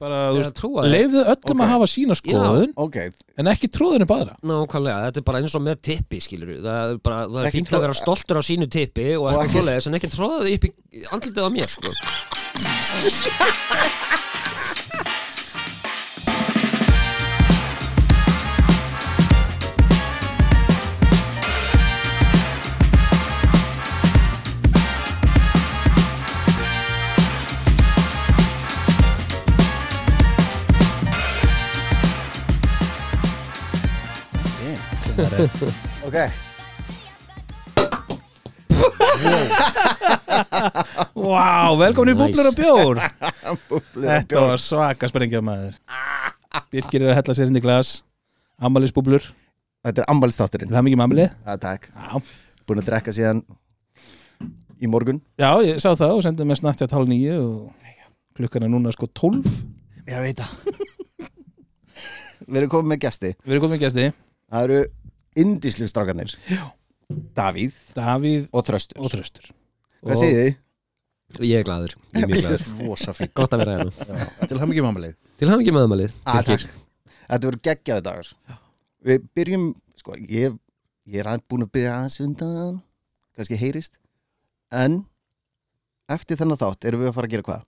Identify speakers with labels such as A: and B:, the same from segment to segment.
A: bara, þú
B: Ég er
A: veist,
B: að trúa þér.
A: leiðu öllum
B: Ok.
A: að hafa sína skoðun
C: ok,
A: en ekki tróðinu bara
B: Nákvæmlega, þetta er bara eins og með tippi skilur Það er, bara, það er
C: Ekki
B: fínt
C: tró-
B: að vera stoltur á sínu tippi og
C: Og
B: eitthvað
C: ekki-
B: svoleiðis en ekki tróða því upp í andlitið á mér sko.
C: ok
A: Vá, velkomin í
B: Nice.
A: Búblur og Bjór
C: Búblur og
A: Þetta
C: bjór.
A: var svaka sprengja maður Birkir er að hella sér inn í glas Amalis Búblur,
C: Þetta er ammalstátturinn
A: það er mikið mamlið
C: Takk,
A: Já,
C: búin að drekka síðan í morgun
A: já, ég sá það og sendið mér snart hjá tál nýju og klukkan er núna sko 12
C: Ég veit það Við erum komið með gesti
A: Við erum komið gæsti
C: Það eru indíslufstrákanir Davíð
A: Davíð
C: og Þröstur
A: og Tröstur
C: Hvað segið þið?
B: Og Ég er gladur, ég er mjög gladur
C: Rosa fín
B: Gott að vera hérna
D: Til hann ekki mammalið
B: Til hann ekki meðmælið
C: Ah, takk. Þetta voru geggjaði dagar Við byrjum, sko, ég, ég er aðeins búin að byrja aðeins undan kannski heyrist En eftir þennan þátt erum við að fara að gera hvað?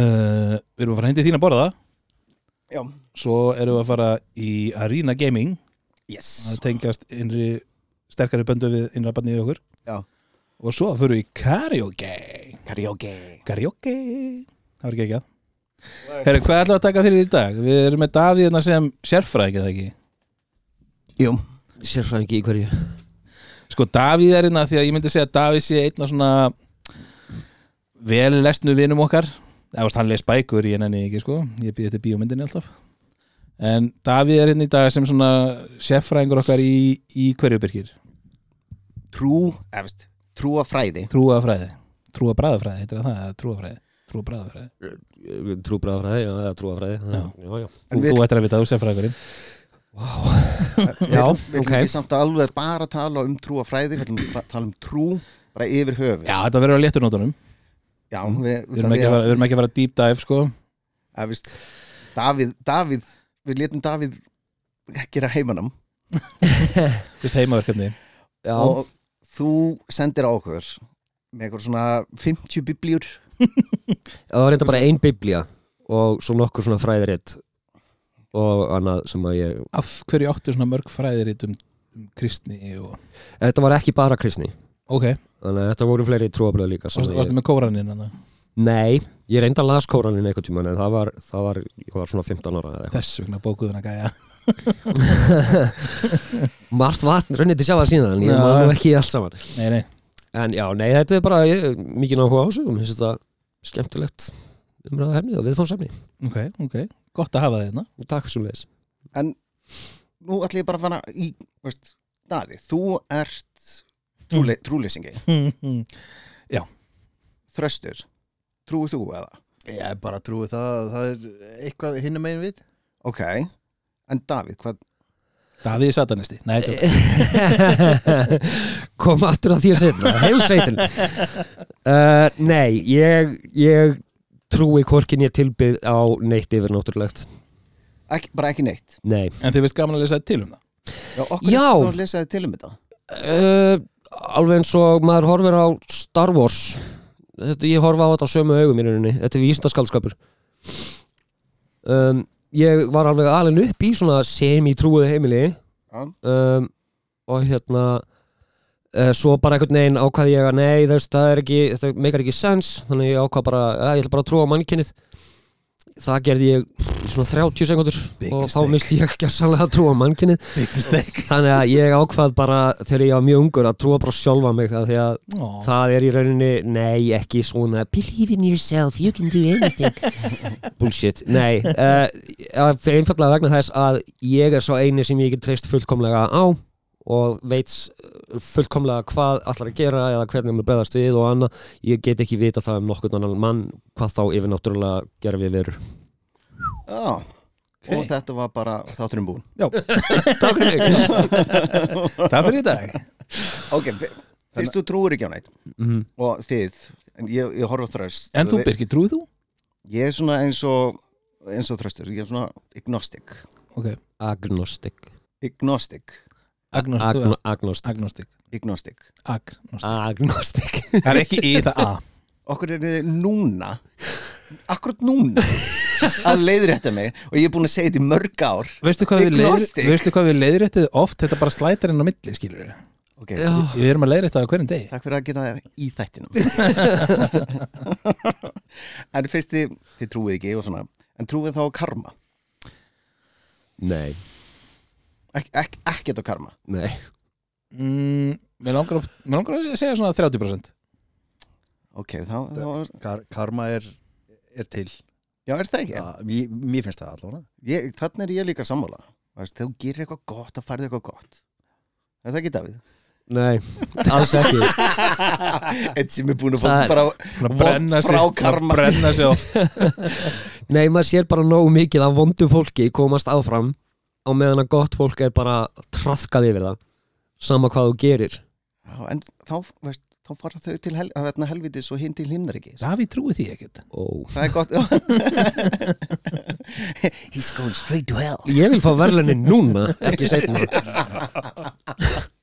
A: uh, Við erum að fara hindi þín að borða
C: Já
A: Svo erum við að fara í Arena Gaming
C: Yes
A: að tengjast innri sterkari böndu við innra barnið í okkur
C: Já.
A: og svo fyrir við í karaoke
C: Karaoke
A: karaoke það var ekki ekki að Herru, hvað ætlum við að taka fyrir í dag? Við erum með Davíðina sem sérfræðing eða ekki?
C: Jú
B: Sérfræðingi í hverju
A: Sko Davíð er hérna því að ég myndi segja að Davíð sé einn af svona vel lesnu vinum okkar eða þú veist, hann les bækur, ég nenni því ekki sko ég býði þetta bíómyndinni alltaf en Davíð er hérna í dag sem svona sérfræðingur okkar í, í hverju byrkir?
C: Trú, efst, trú að fræði
A: Trúafræði Trúabræðafræði, heitir það það? eða Trúafræði Trúabræðafræði
B: Trúbræðafræði, já, eða trúafræði Já, já, já,
A: Þú,
C: En við-
A: þú ættir að vita, þú sérfræðingurinn
C: Við ætlum-
B: ok.
C: Við ætlum ekki samt alveg bara að tala um trú að fræði Við ætlum að tra- tala um trú bara yfir höfu
A: Já, þetta verður á léttunótunum
C: Já við,
A: Við erum ekki að vera, við erum ekki að vera deep dive sko
C: efst, Davíð, Davíð, við letum Davíð gera heimanum
A: Fyrst heimaverkefni
B: já.
C: og þú sendir á okkur með eitthvað svona 50 biblíur
B: Það var reynda bara ein biblía og svo nokkur svona fræðiritt og annað sem að ég
A: Af hverju áttu svona mörg fræðiritt um, um kristni og...
B: Þetta var ekki bara kristni
A: Ok,
B: Þannig að þetta voru fleiri trúablöð líka sem
A: varstu,
B: að ég-
A: varstu með kóraninn hann
B: Nei, ég reynda að las kóranin einhvern tímann en það var, það var, ég var svona 15 ára eða eitthvað.
A: Þess vegna bókuðuna gæja
B: Margt vatn runnið til sjávar síðan, ég
A: Já.
B: maður nú ekki allt saman
A: Nei, nei,
B: En já, nei, þetta er bara ég, mikið náhuga á þessu og mér finnst þetta skemmtilegt umræða hefni og viðfónsefni
A: ok, ok Gott að hafa þið hérna
B: Takk fyrir leis
C: en nú ætlum ég bara að fara í veist, Daði, þú ert
A: Mm.
C: trúle, trúlýsingi,
A: hérna.
C: þröstur trúið þú eða?
D: Ég er bara að trúi það að það er eitthvað hinnum einn við
C: Ok, en Davíð, hvað
A: Davíð er satanisti Nei, þetta
B: Kom aftur að því að setna, heilseitin uh, Nei, ég, ég trúi hvorkin ég tilbyð á neitt yfir náttúrulegt
C: ekki, bara ekki neitt
B: Nei
D: Eh.
A: En þið veist gaman að lesa til um það
C: Já, okkur
B: Já.
C: er þú lesaði til um þetta
B: uh, alveg eins og maður horfir á Star Wars þetta, ég horfa á þetta á sömu augum í rauninni þetta er vísindaskaldskapur um, ég var alveg alveg upp í svona semi-trúið heimili
C: Já.
B: um, og hérna uh, svo bara einhvern veginn ákvað ég að nei þess, það er ekki, þetta meikar ekki sens þannig ég ákvað bara, að, ég ætla bara að trúa á mannkynnið það gerði ég í svona 30 sekundur
A: Big
B: og þá
A: mistake.
B: misti ég ekki að sannlega að trúa á mannkynnið
A: Big mistake
B: Þannig að ég ákvað bara þegar ég var mjög ungur að trúa bara á sjálfa mig að því að það er í rauninni, nei ekki svona believe in yourself, you can do anything bullshit, nei uh, það er einfallega vegna þess að ég er svo eini sem ég get treyst fullkomlega á og veit s- fullkomlega hvað allar að gera eða hvernig mér bregðast við og annað ég get ekki vita það um nokkurn annan mann hvað þá yfir náttúrulega gerum við verur
C: Já, og þetta var bara þátturinn búinn
B: Takk fyrir mig
A: Það fyrir í dag
C: Ok, vi- fyrst þú trúir ekki á neitt
B: Mhm.
C: og þið, en ég, ég horfa á þröst
A: En þú Birkir, trúið þú?
C: Ég er svona eins og eins og þröstur, ég er svona agnostic
A: ok,
B: Agnostic
C: agnostic,
A: agnostik
B: Agno, Agnostic
A: agnostik,
C: agnostic
A: agnostik
B: Agnostic
A: það er ekki í það a
C: okkur er þið núna akkurat núna að leiðrétta mig og ég er búin að segja þetta í mörg ár
A: veistu hvað við, leið,
C: Agnostic.
A: veistu hvað við leiðréttið oft þetta bara slætar inn á milli skilur við
C: ok,
B: Já.
A: við erum að leiðrétta það á hverjum degi
C: takk fyrir að gera það í þættinum en fyrst þið, þið trúið ekki og svona en trúið þá á karma
B: Nei,
C: ek, ek, ekkert á karma
B: nei
A: mm, mér, langar, að- mér langar að segja svona 30%
C: ok, þá, þá
D: Kar karma er, er til
C: já, er það ekki
D: ja, mér, mér finnst það allavega
C: ég, þannig er ég líka sammála Veist, þegar þú gerir eitthvað gott, þá færðu eitthvað gott er það ekki Davíð?
B: Nei, alls ekki
C: einn sem er búin
B: Það
C: að fá
B: er-
C: bara
A: Svona
C: Vont
A: brenna sig,
C: frá
A: svona
C: karma.
A: brenna sig oft
B: Nei, maður sér bara nógu mikið að vondu fólki komast áfram á meðan að gott fólk er bara trafkað yfir það sama hvað þú gerir
C: já, en þá, veist, þá fara þau til hel, hérna helvitis og hinn til himnaríkis
A: Davíð trúið því ekkert
B: Ó.
C: það er gott he's going straight to hell
B: Ég vil fá verðlunin núna, ekki setna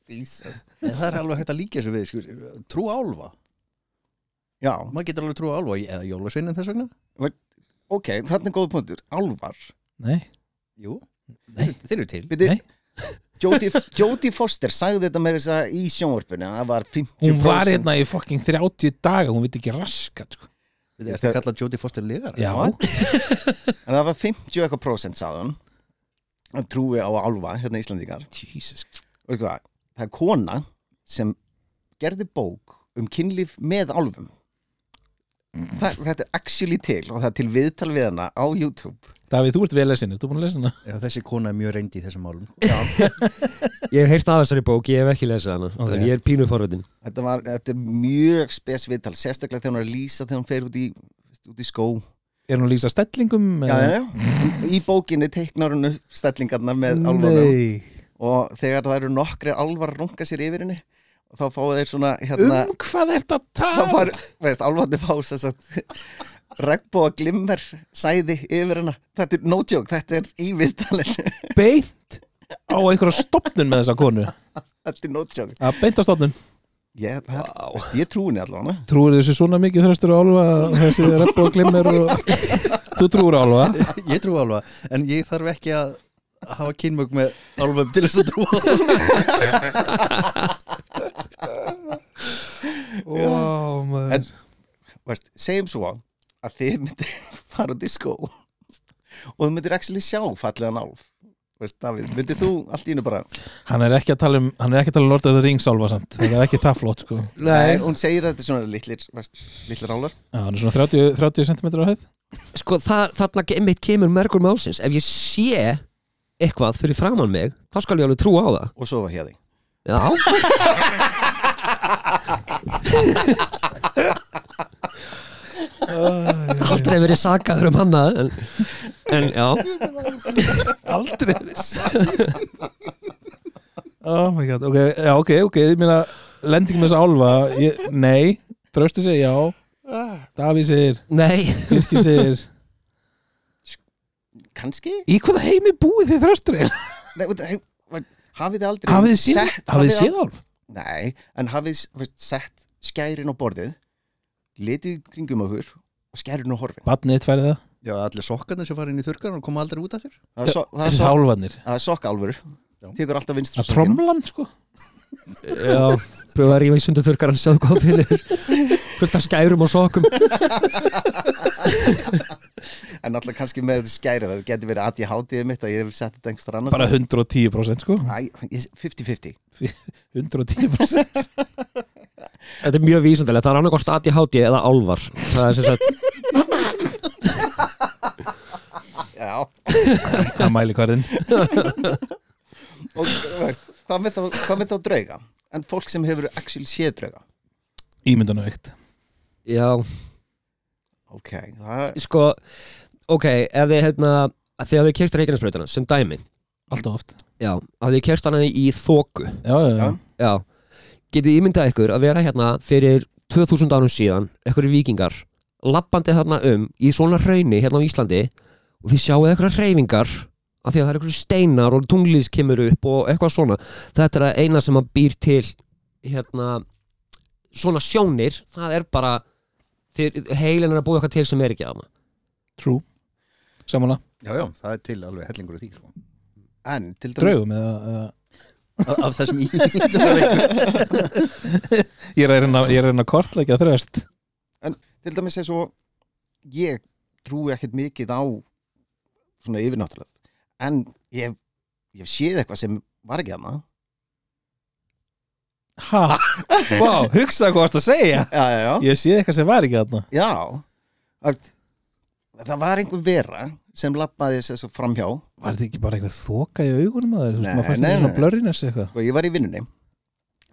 C: Jesus.
D: En það er alveg hægt að líka þessu við skur, trú álfa,
C: já,
D: maður getur alveg trú álfa í- eða jólasveinin þess vegna
C: ok, þannig er góða punktur álvar
A: Nei,
D: Jú,
A: Nei.
D: þeir eru til
C: Byrju,
A: Nei.
C: Jodie, Jodie Foster sagði þetta meira þess að í sjónvarpinu að það var 50%
A: hún var hérna í fucking 30 daga hún veit ekki raskat sko.
D: Við erum að kalla Jodie Foster legara
A: Já,
C: en það var 50 eitthvað prósent sagðan að trúi á álfa hérna Íslandingar
A: Jesus
C: og eitthvað, það er kona sem gerði bók um kynlíf með álfum það, þetta er actually til og það er til viðtal við hana á YouTube
A: Davíð, þú ert vel lesinni, þú búin að lesa hana
D: Já, þessi kona er mjög reynd í þessum málum
B: Ég hef heyrt af þessari bók, ég hef ekki lesið hana
A: Ok.
B: En ég er pínu forvitin
C: þetta, var, þetta er mjög spes viðtal sérstaklega þegar hún er að lýsa þegar hún fer út í, út í skó
A: Er hún að lýsa stellingum?
C: já, já, já. í bókinni teiknar hún upp stellingarna með álfanum
A: Nei
C: og þegar það eru nokkri álvar að runga sér yfir henni og þá fáið þeir svona hérna,
A: Um hvað ert að
C: þá
A: tala?
C: far, veist, álvarni fá þess að regnbóa glimmer sæði yfir hennar þetta er no joke, þetta er í viðtalinu
A: Beint á einhverja stopnun með þessa konu
C: þetta er no joke
A: að beint á stopnun
C: ég, það, veist, ég trúi henni allavega
A: Trúir þessu svona mikið þröstur á álfa þessi repp og glimmer og þú trúir á álfa
D: Ég trú álfa, en ég þarf ekki að hafa kynmög með álfum til þess að trú álfa
A: Ó, maður
C: En- veist, segjum svo að þið myndir fara út í skó og þú myndir actually sjá fallegan álf veist, Davíð, myndir þú allt í hennu bara
A: Hann er ekki að tala um hann er ekki að tala um Lord of the Rings álfa samt það er ekki það flott sko Já,
C: Nei, hún segir að þetta er svona litlir, veist, litlir álar
A: hann er svona 30, 30 cm á höð
B: Sko, það, þarna ke- einmitt kemur mergur málsins Ef ég sé eitthvað fyrir framann mig þá skal ég alveg trúa á það
C: og sofa hjá því
B: Já Aldrei verið sakaður um hana en, en já,
A: Aldrei Oh my god, ok, já, ok, ok Ég meina, lending með þessa álfa ég, Nei, Trausti segir já Davíð segir,
B: nei
A: Birki segir
C: kannski
A: Í hvaða heimi búið þið Traustur?
C: Nei, veit, hei, veit, hafið þið aldrei
A: Hafið þið séð, hafið þið séð álf?
C: al- Nei, en hafið þið veist, sett skærin á borðið litið í kringum okkur og skærin á horfin
A: Batnið þitt færið það,
D: Já, allir sokkarnir sem fara inn í þurrkan og koma aldrei út af þér
C: það er, so, það er,
A: þessi
C: so,
A: álfanir
C: það er sokkálfur
D: Já.
C: tekur alltaf vinstri
A: Að tromlan, sko
B: Já, pröfa að rífa í sundu þurrkaran sjáðu hvað hann finnir fullt af skærum og sokum
C: sokkinn, en alltaf kannski með skæri það getur verið aðið hátíðið mitt að ég hef sett þetta einhverstar annars
A: Bara 110% sko
C: Æ, ég- 50-50
A: 110%
B: Þetta er mjög vísindalega, það er annarkort aði háti eða álvar Það er sem sagt,
C: Já,
A: Það mæli hverðin
C: og veit, hvað með þá- hvað með þá drauga? En fólk sem hefur actually séð drauga
A: Ímyndanaukt
B: já,
C: Ok, það
B: sko Ok, ef þið hérna Þegar þið kert reikinnsbreytana, sem dæmi
A: Allt of oft
B: Já, að þið kert hana í þóku
A: Já, já, já
C: Já.
B: Já, getið ímyndað ykkur að vera hérna fyrir 2000 árum síðan, ykkur vikingar lappandi þarna um í svona hrauni hérna á Íslandi og þið sjáuð eitthvað hreyfingar af því að það er eitthvað steinar og tunglís kemur upp og eitthvað svona þetta er það eina sem að býr til hérna svona sjónir, það er bara þeir, heilin er að búa eitthvað til sem er ekki aðna
A: True Samanlega
D: já, já, það er til alveg hellingur af því sko.
C: en til dæmis
A: Draugum eða, eða
D: af, af þessum í
A: Ég er að reyna, ég er að reyna að kortleika þröst
C: til dæmis er svo ég trúi ekkert mikið á svona yfirnáttúrulegt en ég, hef- ég hef séð eitthvað sem var ekki þarna
A: Ha? Vá, hugsaðu hvað varst að segja
C: já, já, já,
A: Ég sé eitthvað sem var ekki þarna
C: já. Að, það var einhver vera sem lappaði þess að framhjá og
A: Var þetta ekki bara eitthvað þoka í augunum að þeir? Þú veist,
C: Nei,
A: maður fannst
C: nei,
A: þetta svona
C: nei.
A: blurriness eitthvað
C: Sko, ég var í vinnunni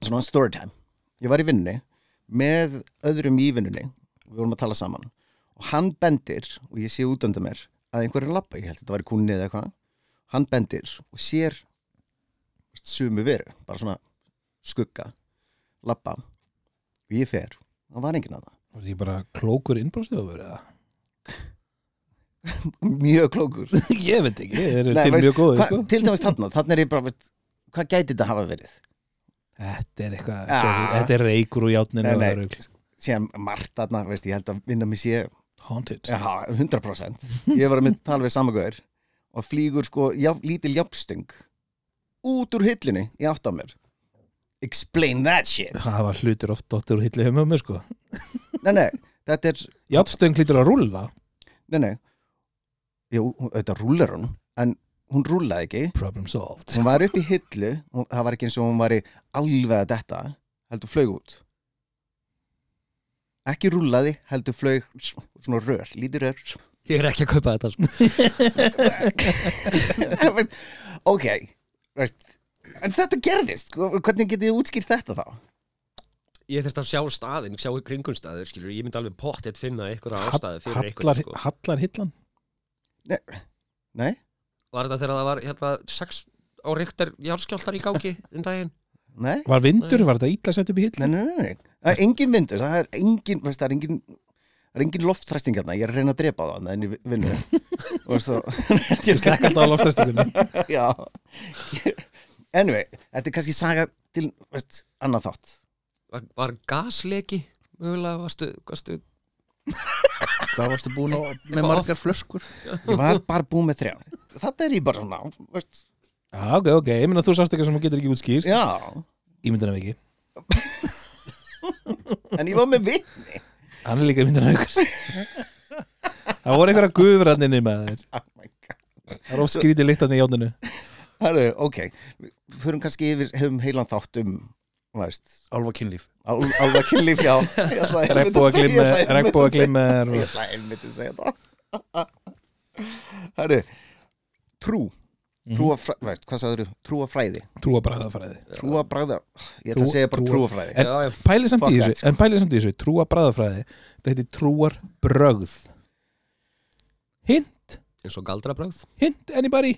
C: svona storytime, ég var í vinnunni með öðrum í vinnunni og við vorum að tala saman og hann bendir, og ég sé út undan mér að einhverju lappa, ég held að þetta var í kunni eða eitthvað hann bendir og sér þú veist, sumu veru, bara svona skugga, lappa og ég fer, það var enginn að
A: Var þetta ekki bara klókur innbróðstöfur eða?
C: það mjög klókur
A: ég veit ekki, þeir eru
C: Nei,
A: til
C: veist,
A: mjög góðu
C: Hva,
A: sko.
C: til dæmis þarna, þarna er ég bara veit, hvað gæti þetta hafa verið
A: Þetta er eitthvað,
C: Ah.
A: þetta er- þetta er reykur úr játninu
C: Nei,
A: og
C: nei.
A: rugl.
C: sem margt þarna, veist, ég held að vinna mér sé
A: Haunted
C: aha, 100% ég var að mynda tala við samagöður og flýgur sko já, lítil jafnstöng út úr hillinu í átt á mér explain that shit
A: Það var hlutir oft dóttir og hillu hefum með mér sko
C: nei, nei, þetta er
A: Játstöng hlýtur að rúlla
C: nei, nei. Jú, hún- auðvitað rúlar hún en hún rúlaði ekki
A: Problem solved
C: hún var upp í hillu hún, það var ekki eins og hún var í alveg að detta heldur flög út ekki rúlaði heldur flög svona rör, lítið rör
B: ég er ekki að kaupa þetta sko.
C: ok veist, en þetta gerðist sko, hvernig getið þið útskýrt þetta þá
B: ég þurft að sjá staðin, sjá kringunstaðir skilur, ég myndi alveg pottet finna einhverja ástæði fyrir
A: Hallar,
B: eitthvað sko.
A: hallar hillan
C: nei,
B: var þetta þegar það var hérna sex á reyktar járskjáltar í gangi um daginn
C: nei,
A: Var vindur, var þetta ítla sett upp í
C: nei,
A: hillan
C: nei, nei, nei. Það er engin vindur það er engin, veist, það er engin það er engin loftræsting hérna, ég er að reyna að drepa það en ég vinnu og svo
A: Ég slekk alltaf á loftræstingunni
C: já anyway, þetta er kannski saga til veist, annað þátt
B: var, var gasleki mögulega varstu, varstu
D: hvað varstu búin á með margar flöskur
C: ég var bara búin með þrjá þetta er ég bara svona veist,
A: Já, ok, ok, ég meina þú sást eitthvað sem hún getur ekki útskýrt
C: já,
A: Ímyndunum ekki
C: en ég var með vitt
A: Hann er líka ímyndunum ykkur Það voru einhverja gufrarninni með þér
C: oh my god
A: Það er oft skrítið líktarni í játninu
C: Herru, ok, við förum kannski yfir, hefum heilan þátt um, þú veist,
D: alva kynlíf
C: al- alveg kynlíf, já. Ég ætlaði einmitt að segja- ég ætlaði einmitt að
A: Regbúa
C: segja-
A: glimmer
C: Ég ætlaði einmitt að segja það. Herru, trú, trúa fræði, veist, hvað sagður þú? Trúa fræði,
A: Trúa bræðafræði
C: trúa bræða, ég ætla
A: Trú-
C: að segja bara
A: trúa-
C: trúa fræði.
A: En
B: já, já.
A: pælið samt í
C: Fuck
A: þessu,
C: that, sko.
A: en pælið samt í þessu Trúa bræðafræði, þetta heitir trúar brögð Hint,
B: eins og galdrabröð
A: hint anybody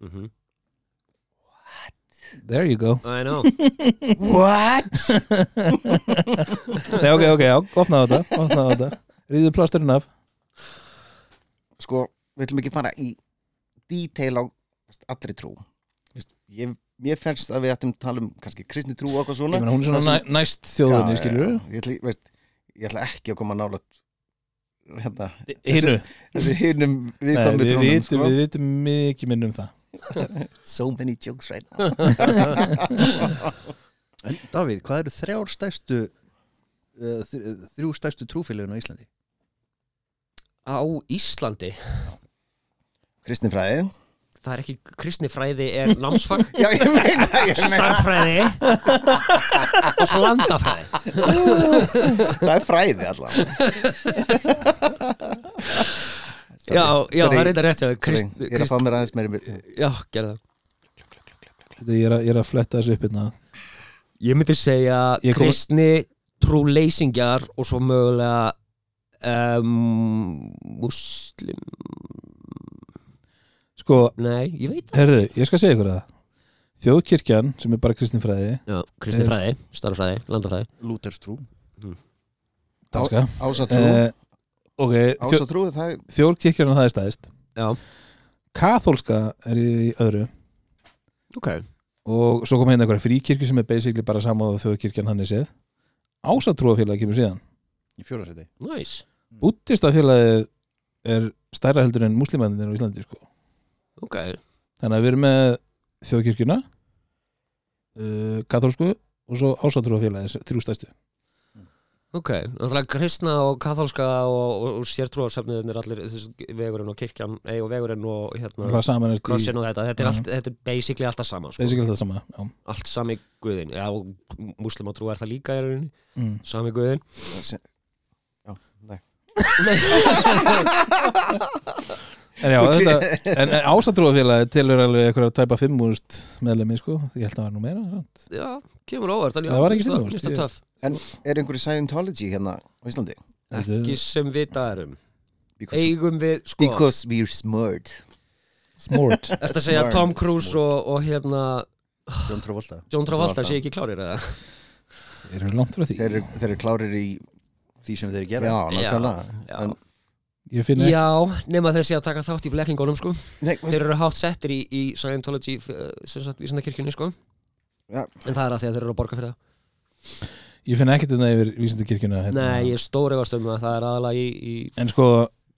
B: mm -hmm.
A: There you go
B: I know
C: What?
A: Nei, ok, ok, já, opnaðu þetta, opnaðu þetta Ríðu plásturinn af
C: Sko, við ætlum ekki fara í detail á þú veist, allri trú. Þú veist, Ég, mér fennst að við ættum að tala um kannski kristni trú og eitthvað
A: Ég
C: svona.
A: meina, hún er
C: Það sem-
A: svona næ, næst þjóðinni,
C: Já,
A: skilur
C: já, já. ég, ætla, veist, ég ætla ekki að koma nála hérna,
A: Hinu,
C: þessu hinum
A: Nei,
C: viðkvæmi
A: við
C: trónum,
A: vitum,
C: sko.
A: við vitum mikið minn um það
C: so many jokes right now
D: en Davíð, hvað eru þrjár stærstu uh, þr- þrjú stærstu trúfélagin á Íslandi
B: á Íslandi
C: kristinfræði
B: það er ekki kristnifræði er námsfag
C: já ég meina, ég meina
B: starffræði og svo landafræði
C: það er fræði alltaf Sorry,
B: já, já,
C: sorry,
B: það er eitthvað rétt já,
C: sorry,
B: krist,
C: ég er að
B: krist,
C: fá mér aðeins meiri
B: já, gerða
A: Þetta ég er að, ég er að fletta þessu upp hérna
B: ég myndi segja
A: Ég kom-
B: kristni trúleysingjar og svo mögulega um, muslim
A: Sko,
B: nei, ég veit það
A: herðu, ég skal segja ykkur það Þjóðkirkjan, sem er bara kristinfræði
B: já, kristnifræði, starffræði, landafræði
D: Lúters trú
A: Danska
C: ásatrú
A: eh, Ok, þjó,
C: ásatrú það er
A: þjóðkirkjan það er staðist
B: já,
A: Kathólska er í öðru
B: ok
A: og svo kom hérna einhverja fríkirkju sem er basically bara samáða þjóðkirkjan þannig séð Ásatrúafélagið kemur síðan
D: í fjórasæti
B: Nice,
A: Búttistafélagið er stærra heldur en múslimændinir á Íslandi sko.
B: ok
A: þannig að við erum með þjóðkirkjuna uh, katholsku og svo ásatrúafélagið þrjú stærstu
B: Ok, náttúrulega kristna og katholska og, og, og sértrúarsefniðin er allir þú veist, vegurinn og kirkjan, ei og vegurinn og hérna,
A: það saman er
B: krossin og þetta þetta er,
A: Mhm.
B: allt, þetta er basically alltaf sama sko.
A: basically það sama já.
B: allt sami guðin já, og muslimatrú er það líka í rauninni
A: Mm.
B: sami guðin
C: Já, nei
A: En já, þetta, en, en ásatrúafélagið tilur alveg einhverja tæpa 5.000 meðlemi, sko, ég held að það var nú meira sant?
B: já, kemur óvart en já,
A: Það var ekki
B: mér
A: stundum,
B: finnst það
A: ég-
B: töff.
C: Er einhverju Scientology hérna á Íslandi?
A: Þetta-
B: ekki sem vita erum
C: Because,
B: eigum við, sko,
C: because we're smart
A: Smart
B: eftir að segja
C: Smart,
B: Tom Cruise og, og hérna
D: John Travolta
B: John Travolta
C: Travolta.
B: sé ekki klárir eða
A: Þeir eru langt frá því
C: Þeir eru- þeir eru klárir í
D: því sem þeir
C: Já,
D: gera
C: nákvæmlega
B: já,
C: En-
A: Ég finn ekki
B: já nema þeir sé að taka þátt í blekkingunum sko
C: Nei,
B: þeir eru hátt settir í, í Scientology uh, sem sagt vísindakirkjunni sko
C: Já.
B: en það er að því að þeir eru að borga fyrir það
A: Ég finn ekkert þetta yfir vísindakirkjuna hérna.
B: nei, ég er stóri varst um það það er aðalega í, í
A: En sko,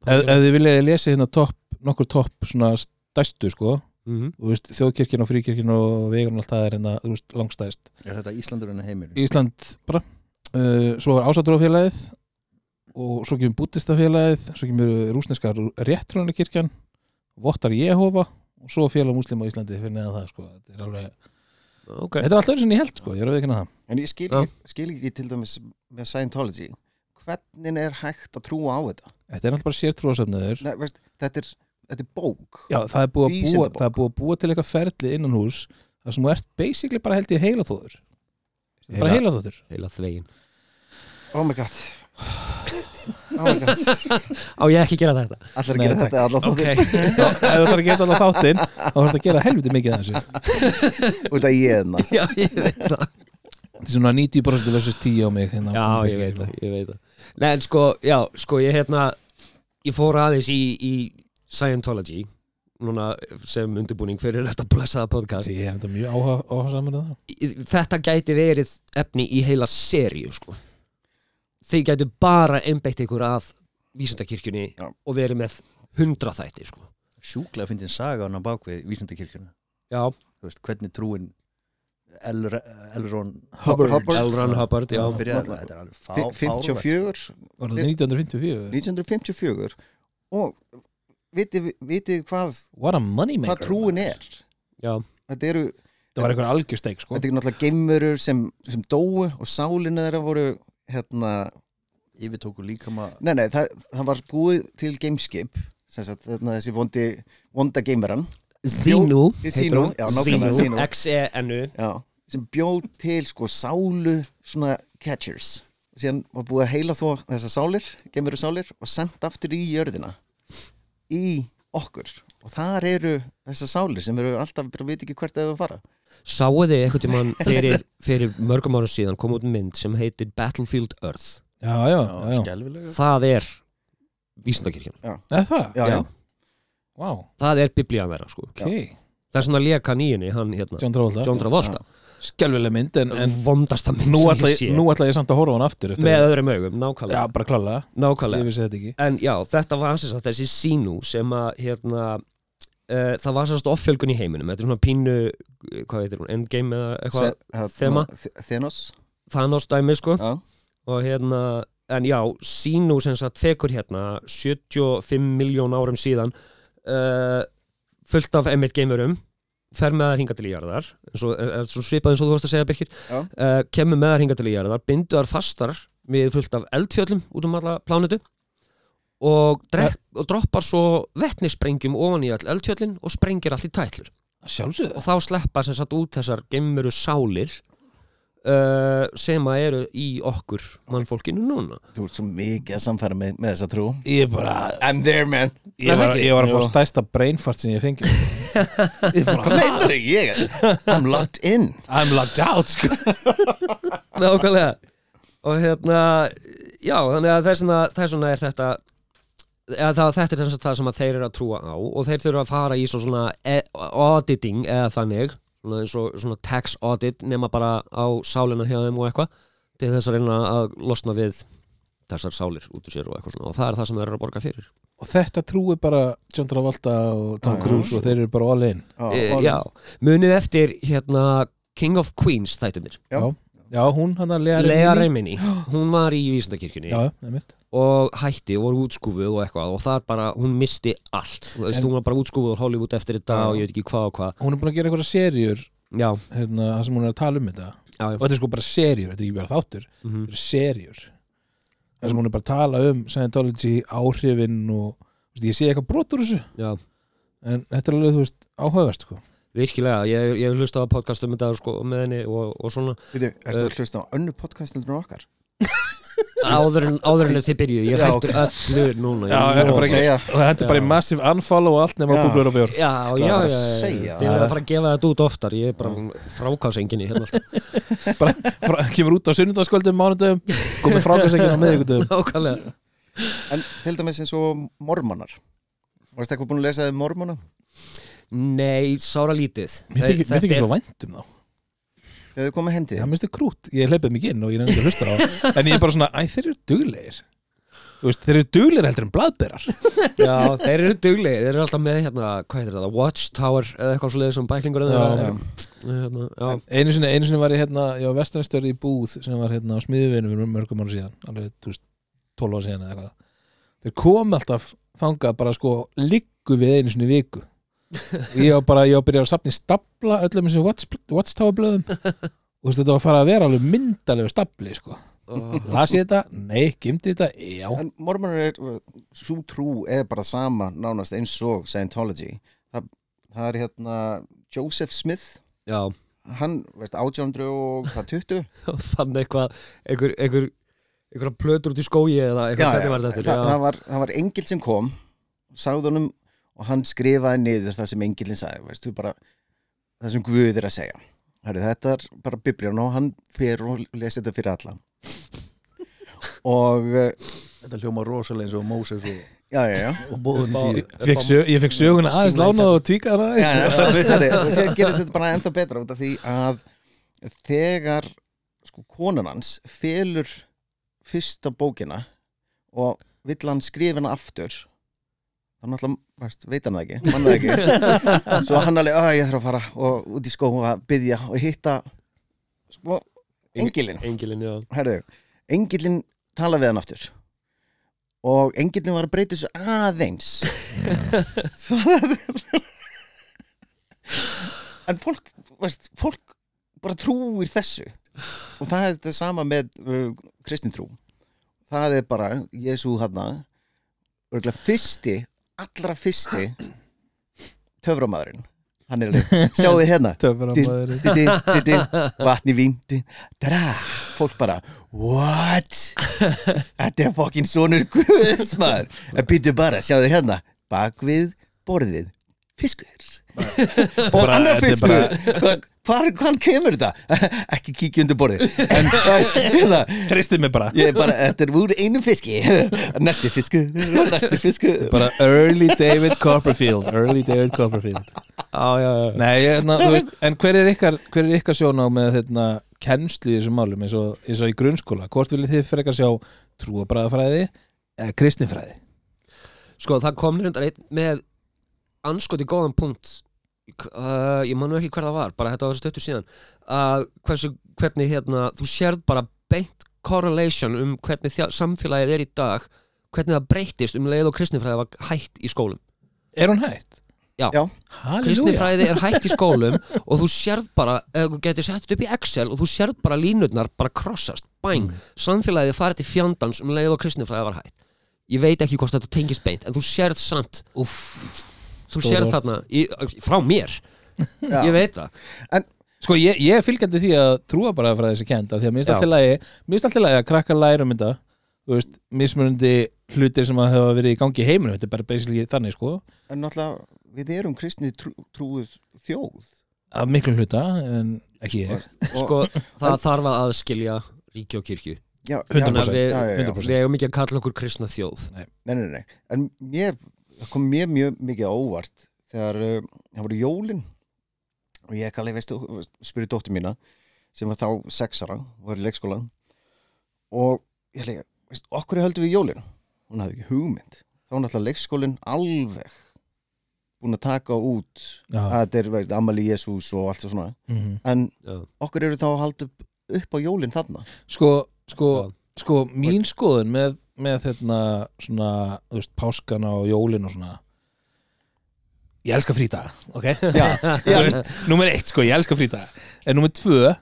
A: ef, ef þið viljaði lesa hérna topp, nokkur topp svona stæstu sko,
B: Mhm.
A: þú veist, þjóðkirkjan og fríkirkjan og vegan og allt það er hérna, þú veist, langstæst
D: er þetta Íslandur en heimur
A: Ísland bara uh, svo var ásatrúafélagið og svo kemur búttistafélagið svo kemur rúsneska réttrúnarkirkjan Vottar Jehova og svo félag múslima á Íslandi fyrir neðan það sko, þetta er alveg
B: ok,
A: Þetta er alltaf sem ég held sko, ég er að veikina það
C: En ég skil,
B: Já.
C: skil ekki til dæmis með Scientology Hvernig er hægt að trúa á þetta?
A: Þetta er alltaf bara sértrúasöfniður
C: Nei, veist, þetta, er, þetta er bók
A: Já, það er búið að búa,
C: Vísindabók.
A: það er búið að búa til eitthvað ferli innan hús þar sem þú ert basically bara held ég heila þóður bara
B: Heila-
A: heila þóður
B: heila þvegin
C: Oh my god Oh my god
B: á ég ekki að gera þetta
C: Allar að
A: Nei,
C: gera
A: takk.
C: þetta allar okay.
A: Ef þú þarf að gera allan þáttinn þá þarf það að gera helviti mikið af þessu
C: út að ég hérna. enna
B: já, ég veit það
A: Þetta er svona 90% versus 10 á mig hérna,
B: Já, ég veit það, ég veit það Nei, en sko, já, sko, ég hérna Ég fór aðeins í, í Scientology Núna sem undirbúning fyrir þetta blessaða podcast
A: Ég er þetta mjög áhuga, áhuga saman að það
B: Í- Þetta gæti verið efni í heila seríu, sko Þið gætu bara einbeitt ykkur að vísindakirkjunni
C: Já.
B: og verið með hundra þætti, sko
D: sjúklega fyndin saga hann á bakvið vísindakirkjuna
B: Já,
D: þú veist hvernig trúin Elr- Elron
C: Hubbard.
B: L. Ron Hubbard, já
D: fyrir alla þetta er alveg fá-
C: Fi- 54
A: Var það 1954?
C: 1954 og vitið vitið hvað,
A: What a money maker
C: hvað trúin er
B: Já,
C: þetta eru,
A: Það var einhver algjör steik sko
C: þetta eru náttúrulega geimurur sem, sem dóu og sálinu þeirra voru hérna,
D: fáránlegt. yfirtóku líkama
C: nei nei, það, það var búið til gameskip sem sagt, þarna, þessi vondi, vonda geimuran
B: Zinu
C: Zenu, já, nákvæmlega, Zenu.
B: X-E-N-U
C: já, sem bjó til sko sálu svona catchers og síðan var búið að heila þó þessar sálir geimurur sálir og sendt aftur í jörðina í okkur og þar eru þessar sálir sem eru alltaf, bara veit ekki hvert það eru að fara
B: Sáu þið eitthvað tímann fyrir, fyrir mörgum árum síðan kom út mynd sem heitir Battlefield Earth
A: Já, já, já, já.
D: skelvilega
B: Það er Vísindakirkjan
A: Er það?
C: já,
B: Já.
C: já.
A: Vá,
B: Það er biblían þeirra sko
A: ok
B: Það er svona leka nýjunni hann hérna
A: John Travolta
B: John Travolta
A: Skelvileg mynd en, en
B: Vondasta mynd
A: nú,
B: sem
A: ætla,
B: ég
A: ég-
B: sé
A: nú ætla ég samt að horfa á hann aftur eftir
B: Með öðrum augum,
A: að-
B: nákvæmlega
A: Já, bara klálega Ég
B: Nákvæmlega
A: vissi þetta ekki
B: En já, þetta var sem sagt þessi sínu sem að hérna uh, Það var sem sagt offjölgun í heiminum Þetta er svona pínu, uh, hvað heitir hún, endgame eða eitthvað
C: Se- hérna,
B: Þema?
C: Þe- Þenos
B: Thanos dæmi sko
C: já,
B: og hérna en já, Sinu sem sagt fekur hérna 75 miljón árum síðan uh, fullt af einmitt geimurum fer með þær hinga til í jarðar eins og, eh, eh, svo svipað eins og þú varst að segja Birkir
C: Já.
B: uh, kemur með þær hinga til í jarðar bindu þær fastar við fullt af eldfjöllum út um alla plánutu og, drep, og droppar svo vetnisprengjum ofan í all eldfjöllin og sprengir allt í tætlur
A: Sjálfsögðu
B: og þá sleppa sem sagt út þessar geimuru sálir uh, sem að eru í okkur mannfólkinu núna
C: þú ert svo mikið að samfæra með, með þessa trú
A: Ég bara
C: I'm there man
A: Ég var, ég var að fá
C: Jú.
A: stærsta brainfart sem ég fengi Ég bara,
C: hvað meinar ég? I'm locked in
A: I'm locked out sko.
B: Nákvæmlega og hérna, já þannig að þess vegna, þess vegna er þetta eða það, þetta er þess að það sem að þeir eru að trúa á og þeir þurfa að fara í svo svona e auditing eða þannig svona, eins og svona tax audit nema bara á sálina hjá þeim og eitthvað til þess að reyna að losna við þessar sálir út úr sér og eitthvað svona og það er það sem þeir eru að borga fyrir
A: og þetta trúi bara John Travolta og Tom
C: Já, já.
A: Cruise og þeir eru bara all in
C: Já,
B: e,
C: og-
B: Já, munið eftir hérna King of Queens þættinir
C: Já.
A: já hún hann að lega
B: Lea Remini, hún var í Vísindakirkjunni
A: já, einmitt.
B: og hætti og voru útskúfuð og eitthvað og það er bara, hún misti allt Þú veist,
A: En-
B: hún var bara útskúfuð og Hollywood eftir þetta
C: Já.
B: og ég veit ekki hvað og hvað
A: hún er búin að gera einhverja serjur
B: Já,
A: hérna, það sem hún er að tala um þetta
B: já, já
A: og þetta er sko bara serjur, þetta er ekki bara þáttur
B: Mhm.
A: þetta er serjur það sem hún er bara að tala um Scientology, áhrifin og þú veist, ég sé eitthvað brot úr þessu
B: Já,
A: en þetta er alveg, þú veist, áhugavert sko.
B: virkilega, ég, ég hlusta á podcast um þetta sko, með henni og, og svona
C: Veitu, ertu að hlusta á önnu podcast heldur en okkar?
B: áður en, áður en þið byrjuðu, ég
C: Já,
B: hættur öllu núna
A: Já,
B: ég
A: þetta er
B: lofa.
A: bara
C: segja.
A: ekki- og þetta er bara í
B: Já.
A: massive unfollow og allt nema
C: Já.
A: búblur og bjór
B: já, já,
C: var að
B: já,
C: segja.
B: já þið verða að fara að gefa þetta út oftar ég er bara frákásenginni hérna alltaf
A: bara frá, kemur út á sunnudagskvöldum, mánudagum komið frákvæmsækina á miðvikudagum
B: nákvæmlega
C: En til dæmis eins og mormonar Varst eitthvað búin að lesa þið mormona?
B: nei, sára lítið
A: mér þykir- mér
B: Þetta
A: þykir
B: er-
A: svo vænt um þá
C: Þegar þið komið hendi
A: það minnst er krút, ég hleypið mikið inn og ég nefndi að hlusta á það. en ég er bara svona, æ, þeir eru duglegir Þú veist, þeir eru duglegir heldur en bladberar
B: já, þeir eru duglegir, þeir eru alltaf með hérna hvað heitir það, Watchtower eða eitthvað svo leiðis um bæklingur
A: Já,
B: þeirra.
A: já.
B: Hérna, já.
A: einu sinni, einu sinni var ég hérna, ég var vestanastöri í búð sem var hérna á smiðuvinu fyrir mörgum ára síðan alveg, þú veist, 12 ára síðan eða eitthvað þeir komu alltaf þangað bara sko liggu við einu sinni í viku ég var bara, ég var byrjað að safna í stapla öllum þessum watch, watchtower blöðum og þú veist, þetta var að fara að vera alveg myndalegu stapli sko,
B: Ó,
A: las ég þetta, nei, gimti þetta, já
C: En mormonar er, svo trú er bara sama nánast eins og Scientology Þa, Það er hérna Joseph Smith
B: já,
C: Hann, veist, 1800 og hvað, 20?
B: og fann eitthvað einhver, einhver, einhverja plötur út í skói eða
C: Já,
B: eitthvað
C: já,
B: hvernig var þetta
C: það,
B: aftur?
C: það, var, það var engil sem kom sagði honum og hann skrifaði niður það sem engilin sagði veist, þú bara, það sem Guð er að segja Heru, þetta er bara biblíun og hann fer og lesi þetta fyrir alla og eh,
D: Þetta hljóma rosalega eins og Moses og,
C: já, já, já
D: og bóðun
B: Bá-
D: tíð
A: Ég fékk sög- ég fekk söguna aðeins lánað og tvíkaði hana
C: hérna.
A: aðeins
C: Já, já, já, við- þetta- og sér gerist þetta bara enda betra út af því að þegar sko, konan hans felur fyrsta bókina og vill hann skrifa hana aftur þá náttúrulega veist, veit hann það ekki, mann það ekki svo hann alveg, að ég þarf að fara og út í skó að byggja og hitta sko, engilin
B: Engilin, já
C: herðu, engillin tala við hann aftur og engillin var að breyta þessu aðeins svo að en fólk veist, fólk bara trúir þessu og það er þetta sama með uh, kristintrú það er bara Jésu hana örgulega fyrsti, allra fyrsti töframadurinn hann er alveg, sjáu þið hérna
A: Töframaðurinn.
C: Di- di- di- di- vatn í vín di- dra, fólk bara what þetta er fokkin sonur guðs maður en býtu bara, sjáðu hérna bakvið borðið fiskur og
A: bara-
C: annar
A: þetta er
C: fiskur
A: bara-
C: bara... hvar, hvaðan kemur þetta ekki kíkja undir borðið en það er hérna,
A: Tristið mig bara
C: ég er bara, þetta er úr einum fiski næsti fiskur, næsti fiskur
A: Bara early David Copperfield Early David Copperfield
B: Já, já, já
A: Nei, hérna, þú veist, en hver er ykkar, hver er ykkar sjóná með hérna, kennslu í þessum málum eins og, eins og í grunnskóla Hvort viljið þið frekar sjá trúabræðafræði eða kristinfræði?
B: Sko, það kom reyndar einn með anskoti góðan punkt K- uh, ég man nú ekki hver það var, bara þetta var stöttur síðan að hversu, hvernig hérna þú sérð bara beint correlation um hvernig þjá- samfélagið er í dag hvernig það breyttist um leið og kristinfræði var hætt í skólum
A: Er hún hægt?
B: Já.
C: Já.
A: Halleluja
B: kristinfræði er hætt í skólum og þú sérð bara, eða þú getur sett þetta upp í Excel og þú sérð bara línutnar bara krossast, bæng, samfélagið farið til fjandans um leið og kristinfræði var hætt ég veit ekki hvort þetta tengist beint en þú sérð samt, uff þú
A: Stór
B: sérð
A: orð.
B: þarna, í, frá mér
C: Já.
B: ég veit það
A: Sko, ég, ég er fylgjandi því að trúabræðafræði sé kenda því að minnst
B: Já.
A: alltaf lagi minnst alltaf lagi að krakkar læra um þetta þú veist, mismunandi hlutir sem að hafa verið í gangi í heiminum, þetta er bara basically þannig sko
C: en náttúrulega, við erum kristni trú, trúið þjóð
A: að miklum hluta en ekki ég
C: Og-
B: sko, það þarf að aðskilja ríki og kirkju
C: já, já,
A: 100%.
B: Þannig að við,
C: Já, já, já.
B: við eigum ekki að kalla okkur kristna þjóð
C: nei, nei, nei. en mér það kom mér mjög mikið á óvart þegar uh, það voru jólin og ég ekki alveg veistu spurði dóttir mína sem var þá sexara og var í leikskólan og ég leik, veist, okkur höldum við jólin hún hafði ekki hugmynd þá var náttúrulega leikskólin alveg búin að taka út
A: Já.
C: að þetta er veist, Amali Jésús og allt svona
A: Mhm.
C: en
B: Já.
C: okkur eru þá að halda upp, upp á jólin þarna
A: sko, sko,
B: Já.
A: sko mín skoðun með, með þetta svona, þú veist, páskana og jólin og svona ég elska frítaga, ok
C: já,
A: Þú veist, númer eitt, sko, ég elska frítaga en númer tvö,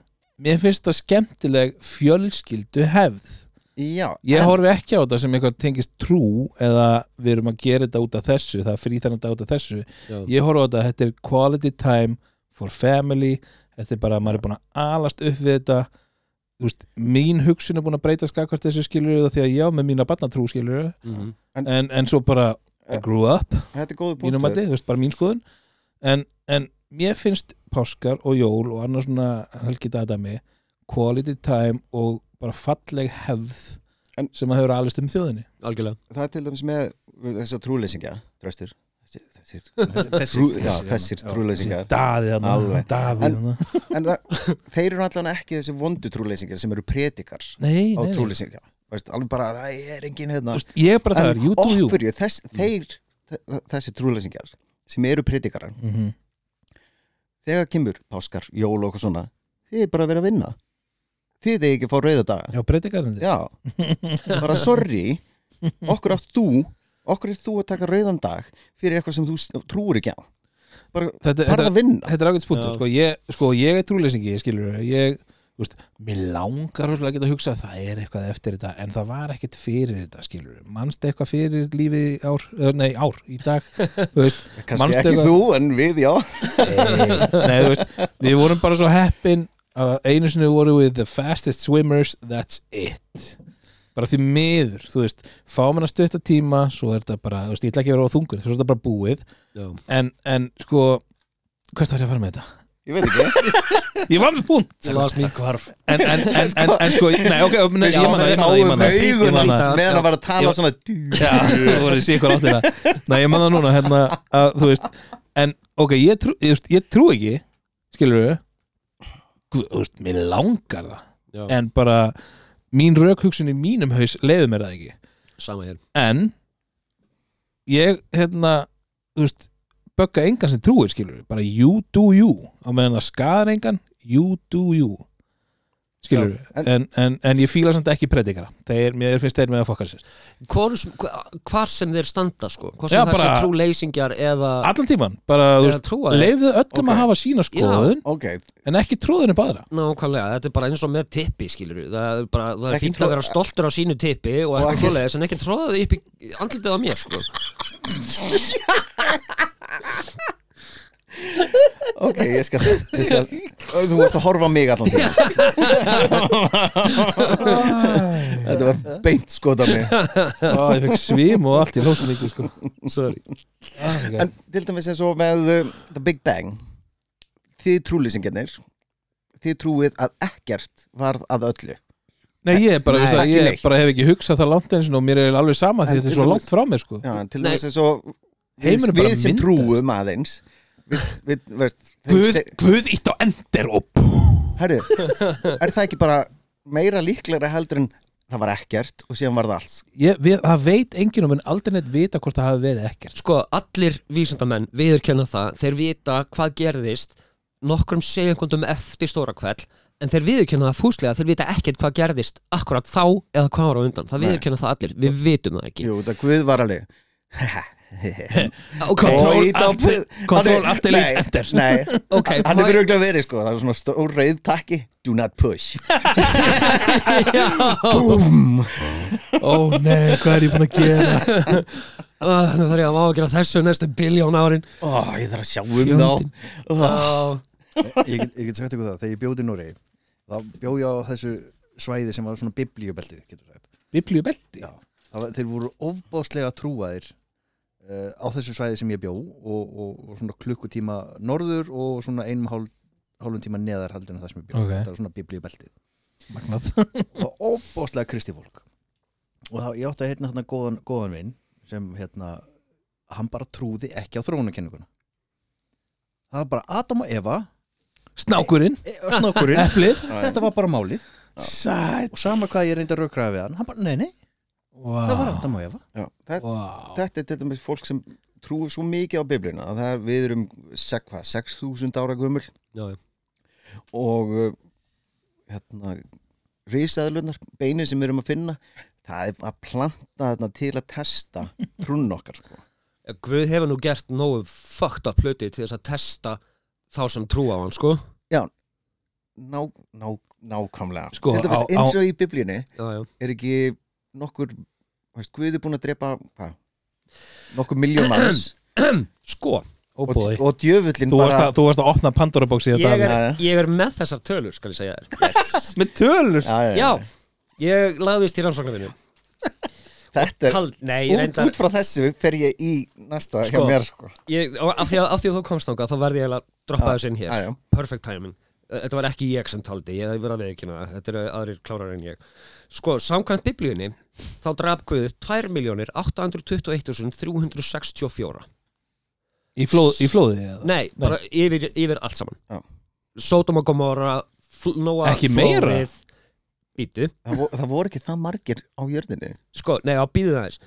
A: mér finnst það skemmtileg fjölskyldu hefð
C: já,
A: Ég
C: en-
A: horfi ekki á þetta sem eitthvað tengist trú eða við erum að gera þetta út af þessu það er frí þennan þetta út af þessu
B: Já.
A: Ég horfi á þetta, þetta er quality time for family, þetta er bara að maður er búin að alast upp við þetta Þú veist, mín hugsun er búin að breyta skakvart þessu skilur það því að ég á með mína barnatrú skilur
B: Mhm.
A: en, en svo bara I grew up
C: þetta er góðu
A: mínum
C: punktur
A: mati, þú veist, bara mín skoðun en, en mér finnst páskar og jól og annars svona helgi dagdæmi, quality time og bara falleg hefð
C: En-
A: sem að hefur alist um þjóðinni
B: Algjörlega
C: það er til dæmis með þessar trúleysingja tröstur þessir, þessir,
D: Þessir-
C: trú, já,
D: þessir,
C: þessir
D: já.
C: trúleysingar
A: Þessi daði þarna,
C: Alveg.
A: daði
C: En-
A: þarna
C: en það, þeir eru allan ekki þessi vondu trúleysingar sem eru predikar
A: Nei,
C: á
A: nei, nei
C: trúleysingar Veist, alveg bara það er engin hérna
A: Þú veist, Ég er bara það, you do you
C: okkur þess, þeir þe- þessir trúleysingar sem eru predikarar
A: Mhm.
C: þegar kemur páskar, jól og eitthvað svona þið er bara að vera að vinna þið er ekki að fá rauða daga
A: Já, breytingarðandi
C: Já, bara sorry Okkur átt þú Okkur er þú að taka rauðan dag Fyrir eitthvað sem þú s- trúir ekki á Bara
A: Þetta þetta
C: farð að
A: er
C: vinna
A: þetta er ágætt spúntur,
B: Já.
A: sko, ég, sko, ég er trúleysingi, ég skilur ég, þú veist, mér langar rosalega að geta að hugsa að það er eitthvað eftir þetta en það var ekkert fyrir þetta, skilur manstu eitthvað fyrir lífið í ár, eh, nei, ár í dag, þú veist
C: Kannski
A: manstu
C: ekki
A: eitthvað-
C: þú en við, já
A: Nei, þú veist, við vorum bara svo heppin að einu sinni vorum við the fastest swimmers, that's it bara því miður, þú veist fáum hann að stutta tíma, svo er þetta bara þú veist, ég ætla ekki að vera á þungur, svo er þetta bara búið
B: Já.
A: en, en sko hvert var ég að fara með þetta?
C: Ég veit ekki
A: Ég var með punkt sko.
B: Lost me Hvarf
A: en, en, en, en, en sko, nei, ok nei, ég man það, ég man það, ég um man það, ég
C: augun
A: man
C: hans
A: það
C: meðan
B: Já.
C: að var að tala
A: Ég-
C: svona
A: Já, þú voru að sé ykkur áttina Nei, ég man það núna, hérna að, Þú veist, en ok, ég trú, ég, veist, ég trú ekki Skilur við Þú veist, mér langar það
B: Já.
A: En bara, mín rökhugsun í mínum haus Leiði mér það ekki
B: Sama hér
A: En Ég, hérna, þú veist Bögga engan sem trúir, skilur við Bara you do you Á meðan það skaðar engan You do you Skilur við,
C: Já, en-
A: en, en, en ég fíla samt ekki predikara Þeir, mér finnst þeir með að fokka sér
B: Hvor, Hvar sem þeir standa sko Hvað
A: Já,
B: sem það
A: bara-
B: sé trúleysingjar eða
A: Allan tíman, bara, þú
B: Eða
A: veist
B: trúa þeir
A: Leifðu öllum
C: Ok.
A: að hafa sína skoðun
C: Ok,
A: en ekki tróðinu bara
B: Nákvæmlega, þetta er bara eins og með tippi skilur Það er, bara, það er
C: Ekki
B: fínt
C: tró-
B: að vera stoltur á sínu tippi og
C: Og
B: eitthvað
C: ekki-
B: svoleiðis en ekki tróða því upp í andlitið á mér sko
C: ok, ég skal, ég skal Þú varst að horfa á mig allan tíma Þetta var beint skot af mig
A: Ó, ég fekk svim og allt í hlósa mikið sko.
B: Sorry
C: En til dæmis eins og með uh, The Big Bang Þið trúlýsingarnir Þið trúið að ekkert varð að öllu
A: Nei, ég, er bara,
C: Nei,
A: veist það,
C: ekki
A: ég
C: neitt.
A: bara hef ekki hugsað það langt eins og mér er alveg sama því
C: En
A: þetta er
C: til
A: svo
C: dæmis-
A: langt frá mér sko.
C: Já, en til
B: Nei.
C: dæmis eins og við,
A: Heimurinn bara
C: við sem
A: myndaðist.
C: trúum aðeins Við, við, veist þeim
A: Guð,
C: seg-
A: guð ítt á endir og bú
C: Herru, er það ekki bara meira líklega heldur en það var ekkert og síðan var það alls
A: ég, við, Það veit enginn og mun aldrei neitt vita hvort það hafi verið ekkert
B: Sko, allir vísindamenn viðurkenna það þeir vita hvað gerðist nokkrum segjöngundum eftir stóra kveld en þeir viðurkenna það fúslega þeir vita ekkert hvað gerðist akkurat þá eða hvað var á undan það
C: Nei.
B: viðurkenna það allir, við vitum það ekki
C: Jú, það Guð var alveg
B: Ok,
A: Control
C: Og ít á
A: alt-
C: pl-
A: control
C: Hann er-
A: alt elite
C: Nei,
A: enter.
C: Nei,
B: Ok,
C: hann
B: má ég-
C: er fyrir auðvitað verið sko Það er svona stór rauð takki Do not push
B: Já.
A: Ó nei, hvað er ég búin að gera
B: Ah, Nú þarf ég að má að gera þessu næstu biljón árin
C: Ó, ég þarf að sjá um þá Ó,
B: Já,
D: ég, get- ég get sagt ykkur það, þegar ég bjóði í Noregi þá bjóð ég á þessu svæði sem var svona biblíubeltið, getur sagt
A: Biblíu belti
D: Já. Það var, þeir voru ofbáslega trúaðir uh, á þessu svæði sem ég bjó og, og, og svona klukkutíma norður og svona einum hálf, hálfum tíma neðar heldur en það sem ég bjó
A: Ok.
D: þetta var svona biblíubeltið
A: Magnað
D: og óbóðslega kristið fólk og þá, ég átti að hérna þarna góðan, góðan vinn sem hérna hann bara trúði ekki á þróunakenninguna það var bara Adam og Eva
A: Snákurinn,
D: e, og snákurinn,
A: eplið
D: þetta var bara málið
A: Sæt
D: og sama hvað ég reyndi að raukraða við hann hann bara, nei, nei,
A: wow.
D: það var Adam og Eva
C: Já, það,
A: wow.
C: þetta er til dæmis fólk sem trúir svo mikið á biblina að það er, við erum seg, hvað, 6.000 ára gömul
B: já, já.
C: og uh, hérna risaðlunar, beinin sem við erum að finna það er að planta þarna til að testa trunn okkar sko.
B: Guð hefur nú gert nógu fucked up hluti til þess að testa þá sem trú á hann, sko
C: ná, ná, nákvæmlega
A: Sko,
C: til dæmis
A: á- á-
C: eins og í biblíunni
B: Já, já,
C: er ekki nokkur veist, Guð er búin að drepa hva? nokkur miljón manns
B: sko
A: Oh
C: og,
A: boy.
C: og djöfullin
A: þú, varst
C: bara
A: að, þú varst að opna Pandora bóksi
B: ég eh?
A: þetta
B: er,
C: Davíð.
B: ég er með þessar tölur, skal ég segja þér
A: með tölur
C: Já, já, já.
B: Já, ég lagðist í rannsóknarvinnu
C: þetta er
B: Kald, nei,
C: út,
B: reyndar
C: út frá þessu fer ég í næsta
B: Sko,
C: hjá mér sko.
B: ég, og af, því að, af því að þú komst þangað þá verði ég eiginlega að droppa
C: Já,
B: þessu inn hér
C: já, já.
B: perfect timing Eh, þetta var ekki ég sem taldi, ég hef verið að veikina þetta eru aðrir klárar en ég sko, samkvæmt biblíunni þá draf Guð 2.821.364
A: í, flóð, í flóði eða?
B: nei, bara yfir, yfir allt saman
C: Já.
B: Sodom og Gomorra fl- Nóa
A: Ekki meira?
B: Bítu,
C: það, vo, það voru ekki það margir á jörðinni
B: sko, nei, á bíðu það aðeins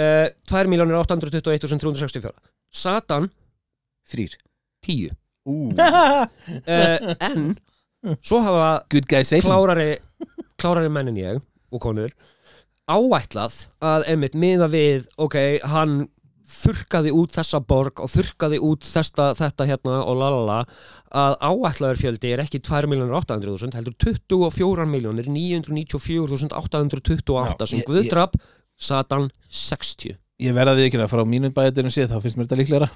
B: uh, 2.821.364 Satan
C: þrýr
B: 10
C: Ú,
B: uh, en svo hafa
A: good guys Satan
B: klárari, klárari menn en ég og konur áætlað að einmitt miða við ok, hann þurkaði út þessa borg og þurkaði út þesta, þetta hérna og lalala að áætlaður fjöldi er ekki 2.800.000 heldur 24.994.828
A: Ég-
B: sem
A: ég-
B: Guðdrap Satan 60
A: ég verða því ekki að frá mínum bæðurum séð þá finnst mér þetta líklegra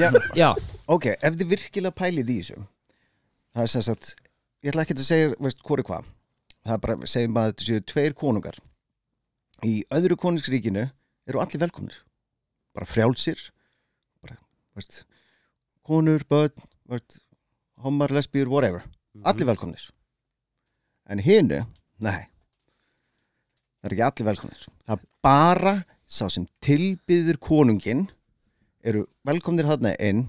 C: já,
B: Já,
C: ok, ef þið virkilega pælið í þessu það er sem sagt ég ætla ekki að segja, veist, hvor er hvað það er bara, segjum að þetta séu tveir konungar í öðru konungsríkinu eru allir velkomnir bara frjálsir bara, veist, konur, börn veist, homar, lesbíur, whatever allir velkomnir en hinu, nei það eru ekki allir velkomnir það er bara sá sem tilbyður konungin eru velkomnir þarna inn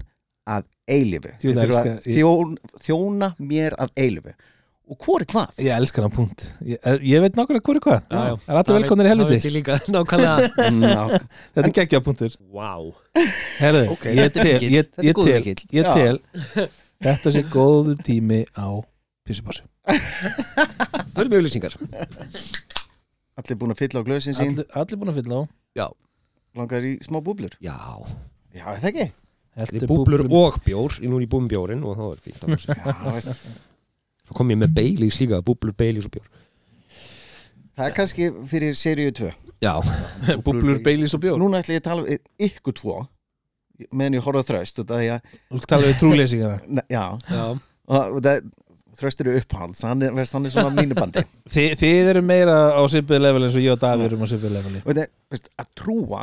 C: að eilifu
A: Djú,
C: Þeir þurfa
A: elska-
C: að þjón, þjóna mér að eilifu og hvor er hvað?
A: ég elskar hann punkt ég, eh, ég veit nákvæmlega hvað er hvað
B: Já, já.
A: það er allir velkomnir í
B: Það veit
A: helviti
B: ég líka nákvæmlega
C: Ná,
A: þetta er geggja punktur
B: Wow
A: Herðu,
D: Ok,
A: ég
D: þetta er
A: tel,
D: mikill,
A: ég,
D: þetta er
A: ég
D: góður
A: tel,
D: mikill.
A: ég
C: Já.
A: tel þetta sé góður tími á pissupásu
B: Förum auðlýsingar
C: allir búin að fylla á glösin sín
A: allir, allir búin að fylla á
B: Já,
C: langar í smá búblur
B: já
C: já, er það ekki
B: Þetta er búblur og bjór, ég nú er ég búin bjórin og það er fínt annars.
C: já, veist,
B: Svo kom ég með Baileys líka, búblur, Baileys og bjór
C: það er kannski fyrir seríu 2
B: Já,
A: og búblur, beilis og bjór
C: núna ætla ég að tala við ykkur tvo meðan ég horfa á þraust og það ég,
A: Þú talaðu við trúleysingana
C: já,
B: já,
C: og og það þröstur er uppháls hann er, veist, hann er svona á mínu bandi
A: Þi, Þið eru meira á svipuðu level eins og ég og Davi erum á svipuðu leveli
C: og það, veist, að trúa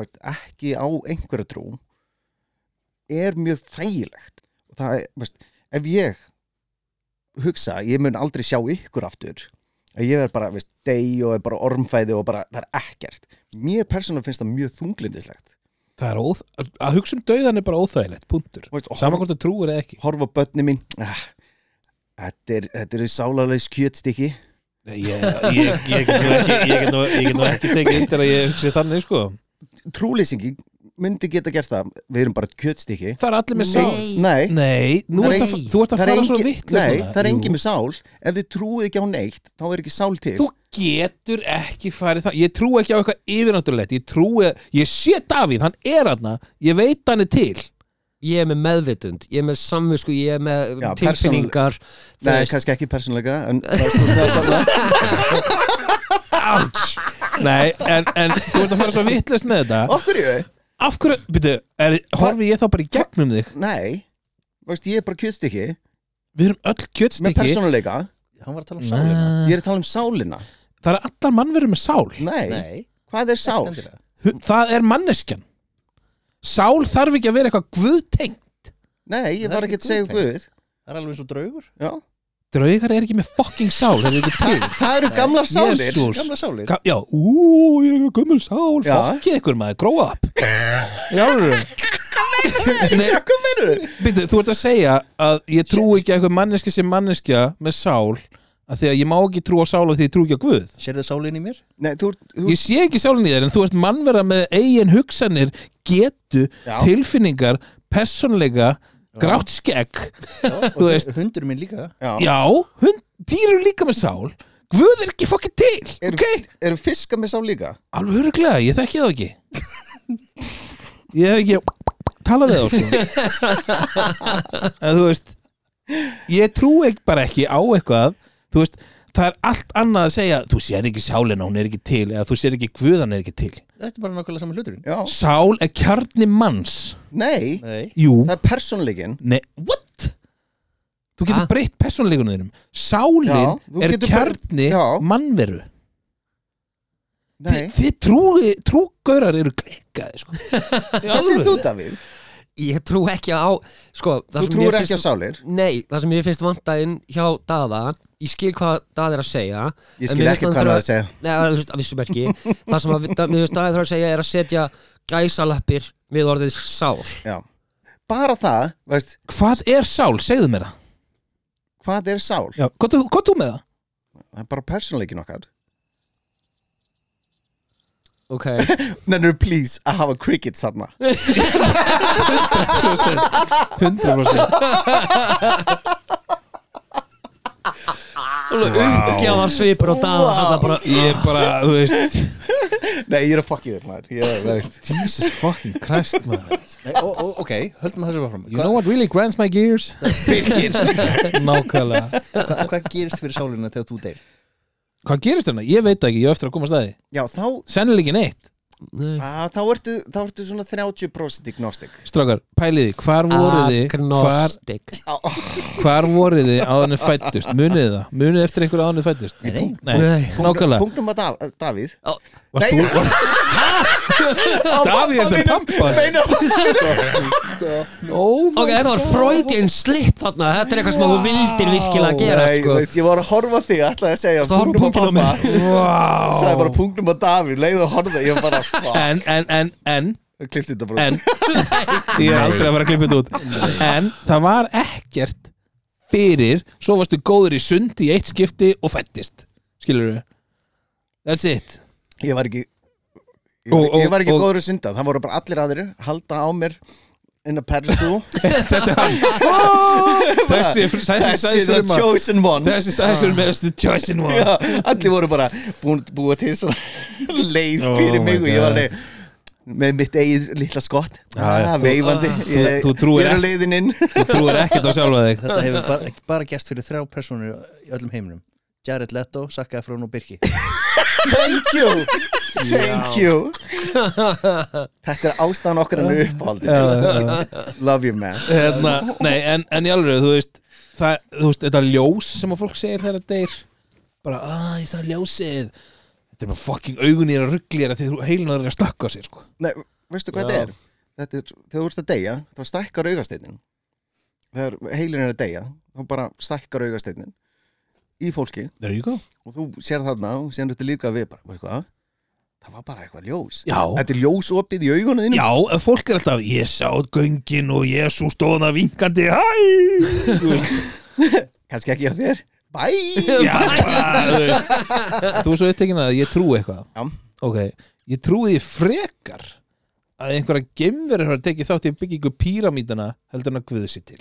C: veist, ekki á einhverja trú er mjög þægilegt og það, er, veist, ef ég hugsa, ég mun aldrei sjá ykkur aftur að ég er bara, veist, deg og er bara ormfæði og bara, það er ekkert mér persónum finnst það mjög þunglindislegt
A: Það er óþ... Að hugsa um dauðan er bara óþægilegt, punktur
C: Veist, og
A: Saman hvort það trúir eða ekki
C: horfa á börni mín ah, þetta er, þetta er sálarlegs kjötstykki
A: Ég, ég, ég, get nú ekki, ég, get nú, ég get nú ekki tekið undir að ég hugsi þannig, sko
C: trúlýsingi myndi geta gert það við erum bara kjötstykki
A: Það er allir með sál
C: nei,
A: Nei, nú
C: Það er
A: ert að,
C: engin-
A: þú ert að
C: það er
A: fara svo
C: engin-
A: vitt
C: Nei, það er engin með sál Ef þið trúið ekki á neitt, þá er ekki sál til
A: Þú getur ekki farið það Ég trúi ekki á eitthvað yfirnáttúrulegt Ég trúi, ég sé Davíð, hann er hann Ég veit hann er til
B: ég er með meðvitund, ég er með samvisku, ég er með
C: Já,
B: tilfinningar þú
C: Nei,
B: veist,
C: kannski ekki persónleika En það er svona þarna.
A: Nei, en, en þú ert að fara svo vittlust með þetta
C: Af hverju?
A: Af hverju, byrju, er, horfi ég þá bara í gegnum þig
C: Nei, veist, ég er bara kjötstykki
A: Við erum öll
C: Með
A: kjötstykki
C: persónleika
D: hann var að tala um sálina
A: Nei.
C: Ég er að tala um sálina
A: Það er allar mannverið með sál
C: Nei,
D: nei,
C: hvað er sál?
D: endilega
A: Hu- Það er manneskjan Sál þarf ekki að vera eitthvað guðteng
C: Nei, ég
D: Það er
C: var
D: ekki
C: ekki að segja
D: Guð
C: Guð
D: Það er alveg eins og draugur
C: Já,
A: draugar er ekki með fucking sál það er ekki til
C: Það eru gamlar sálir
A: Jesús.
C: Gamlar sálir
A: Ka já, ú, ég er gömul sál
C: Já.
A: fokkið ykkur maður, grow up já, Nei,
C: Hvað verður?
A: byrju, þú ert að segja að ég trú ekki að eitthvað manneskja sem manneskja með sál að því að ég má ekki trúa á sál af því ég trú ekki á Guð
D: Sérðu sálinn í mér?
C: Nei, þú, þú,
A: ég sé ekki sálinn í þér en þú ert mannverða með eigin hugsanir getu,
C: Já.
A: tilfinningar persónleika, grátt skegg þú veist,
D: Hundur minn líka
C: já.
A: já hund, dýr eru líka með sál Guð er ekki fokkin til,
C: Eru-
A: ok
C: Eru fiskar með sál líka?
A: alveg höruglega, ég þekki það ekki ég hef ekki talað við þá sko en þú veist ég trú ekki bara ekki á eitthvað þú veist, það er allt annað að segja þú sér ekki sálina, hún er ekki til eða þú sér ekki guðan er ekki til
D: Þetta er bara nákvæmlega saman hluturinn
C: Já
A: Sál er kjarni manns
C: Nei,
D: Nei
A: Jú,
C: það er persónleikin
A: nei, what? Þú getur
B: Ha?
A: breytt persónleikunum þínum Sálin
C: Já, þú
A: er
C: getur
A: kjarni
C: breytt- já.
A: mannveru Þi,
C: Nei,
A: Þið trúi, trúgaurar eru klikkaði sko. Í
C: hvað segir þú
A: alvöru.
C: Davíð?
B: Ég trú ekki á sko, það
C: Þú
B: sem mér
C: trúir
B: finnst-
C: ekki á sálir
B: Nei, það sem ég finnst vantaðinn hjá Daða Ég skil hvað Daða er að segja En
C: Ég skil
B: mér finnst
C: ekki hvað
B: hann
C: hann er
B: þurfa-
C: að segja
B: Nei, að, að vissum ekki Það sem að, að, mér finnst Daði þarf að segja er að setja gæsalappir við orðið sál
C: Já Bara það, veist,
A: Hvað er sál? Segðu mér það
C: hvað er sál?
A: já, hvað, þú- hvað þú með það?
C: Það er bara persónleikin okkar
B: Ok,
C: Nennir, please, að hafa crickets þarna
A: 100%
B: uppgjafar svipur og Daða wow. bara,
A: Ég er bara, þú veist
C: Nei, ég er að fucking þér, maður Ég er, veist
A: Jesus fucking Christ maður.
D: Nei, ó, ó, ok, höldum þessu bara fram
A: You know what really grinds my gears? Nákvæmlega
D: Hva, Hvað gerist fyrir sálina þegar þú deyr?
A: Hvað gerist þarna? Ég veit það ekki, ég hef eftir að koma að staði
C: Já, þá,
A: Sennilega ekki neitt
B: Nei.
C: að, þá, ertu, þá ertu svona 30% agnostic
A: Strákar, pæliði, hvar voruð þið hvar,
B: Agnostic
A: hvar voruð þið áðan þið fættust? Munið þið það? Munið þið eftir einhverju áðan þið fættust? Nei,
B: Nei.
A: nákvæmlega
C: Punktum að Dav, Davíð
B: Ó,
A: Varst þú, var, Davíð er þetta pampas oh,
B: Ok, þetta var Freudian slip þarna Þetta er eitthvað sem að þú vildir virkilega gera
C: Nei,
B: sko.
C: veist, ég var að horfa á þig, ætlaði að segja
B: Þú horfir á
C: punktum
B: punktinn á
C: að pappa
A: wow.
C: Sæði bara punktum að Davíð, leiði að horfa Ég var bara, fuck,
A: En, en, en, en,
C: klifti þetta bara
A: en Ég er aldrei að fara að klippa þetta út En það var ekkert fyrir Svo varstu góður í sund í eitt skipti og fættist Skilur við That's it
C: Ég var ekki Ég
A: Og-
C: var,
A: og-
C: ég var ekki
A: og-
C: góður að synda, það voru bara allir aðrir Halda á mér in a pedestal
A: Þessi, þessi,
C: Þessi
A: þessi,
C: the
A: þessi
C: chosen one
A: Þessi sæsur með þessi chosen one
C: Já, allir voru bara búin að búa til svona leið
A: Oh
C: fyrir
A: my
C: mig og ég var
A: God.
C: alveg með mitt eigið litla skott
A: já,
C: ah,
A: þú-
C: veifandi ég,
A: þú trúir
C: ég
A: ekki.
C: er á leiðin inn
A: Þú trúir ekkert á sjálfa þig
D: Þetta hefur bara, bara gerst fyrir þrjá personur í öllum heiminum Jared Leto, Saka Efron og Birki
C: thank you thank you þetta er ástæðan okkar en upphaldi love you man
A: hérna, Nei, en, en í alveg, þú veist það, Þú veist, þetta ljós sem að fólk segir þegar það deyr Bara, að, ég sagði ljósið Þetta er bara fucking augun í þér að ruggli þér að því þú heilin á þér er að stakka á sér, sko
C: Nei, veistu hvað
B: Já.
C: þetta er? Þetta er þegar þú ert að deyja, þá stækkar augasteinnin þegar heilin er að deyja þá bara stækkar augasteinnin í fólki
A: There you go
C: og þú sér þarna og sér þetta líka við bara, veistu hvað? Það var bara eitthvað ljós
A: Já,
C: Þetta er ljósopið í augunum þínum
A: já, ef fólk er alltaf Ég sá göngin og Jésu stóðna vinkandi Hæ Þú veist,
C: Kannski ekki að þér Bæ!
A: já, bara, þú veist Þú er svo upptekinn að ég trúi eitthvað
C: Já.
A: Ok, ég trúi því frekar að einhverja geimverið hafa tekið þátt í byggingu píramítana heldur hann að guðu sér til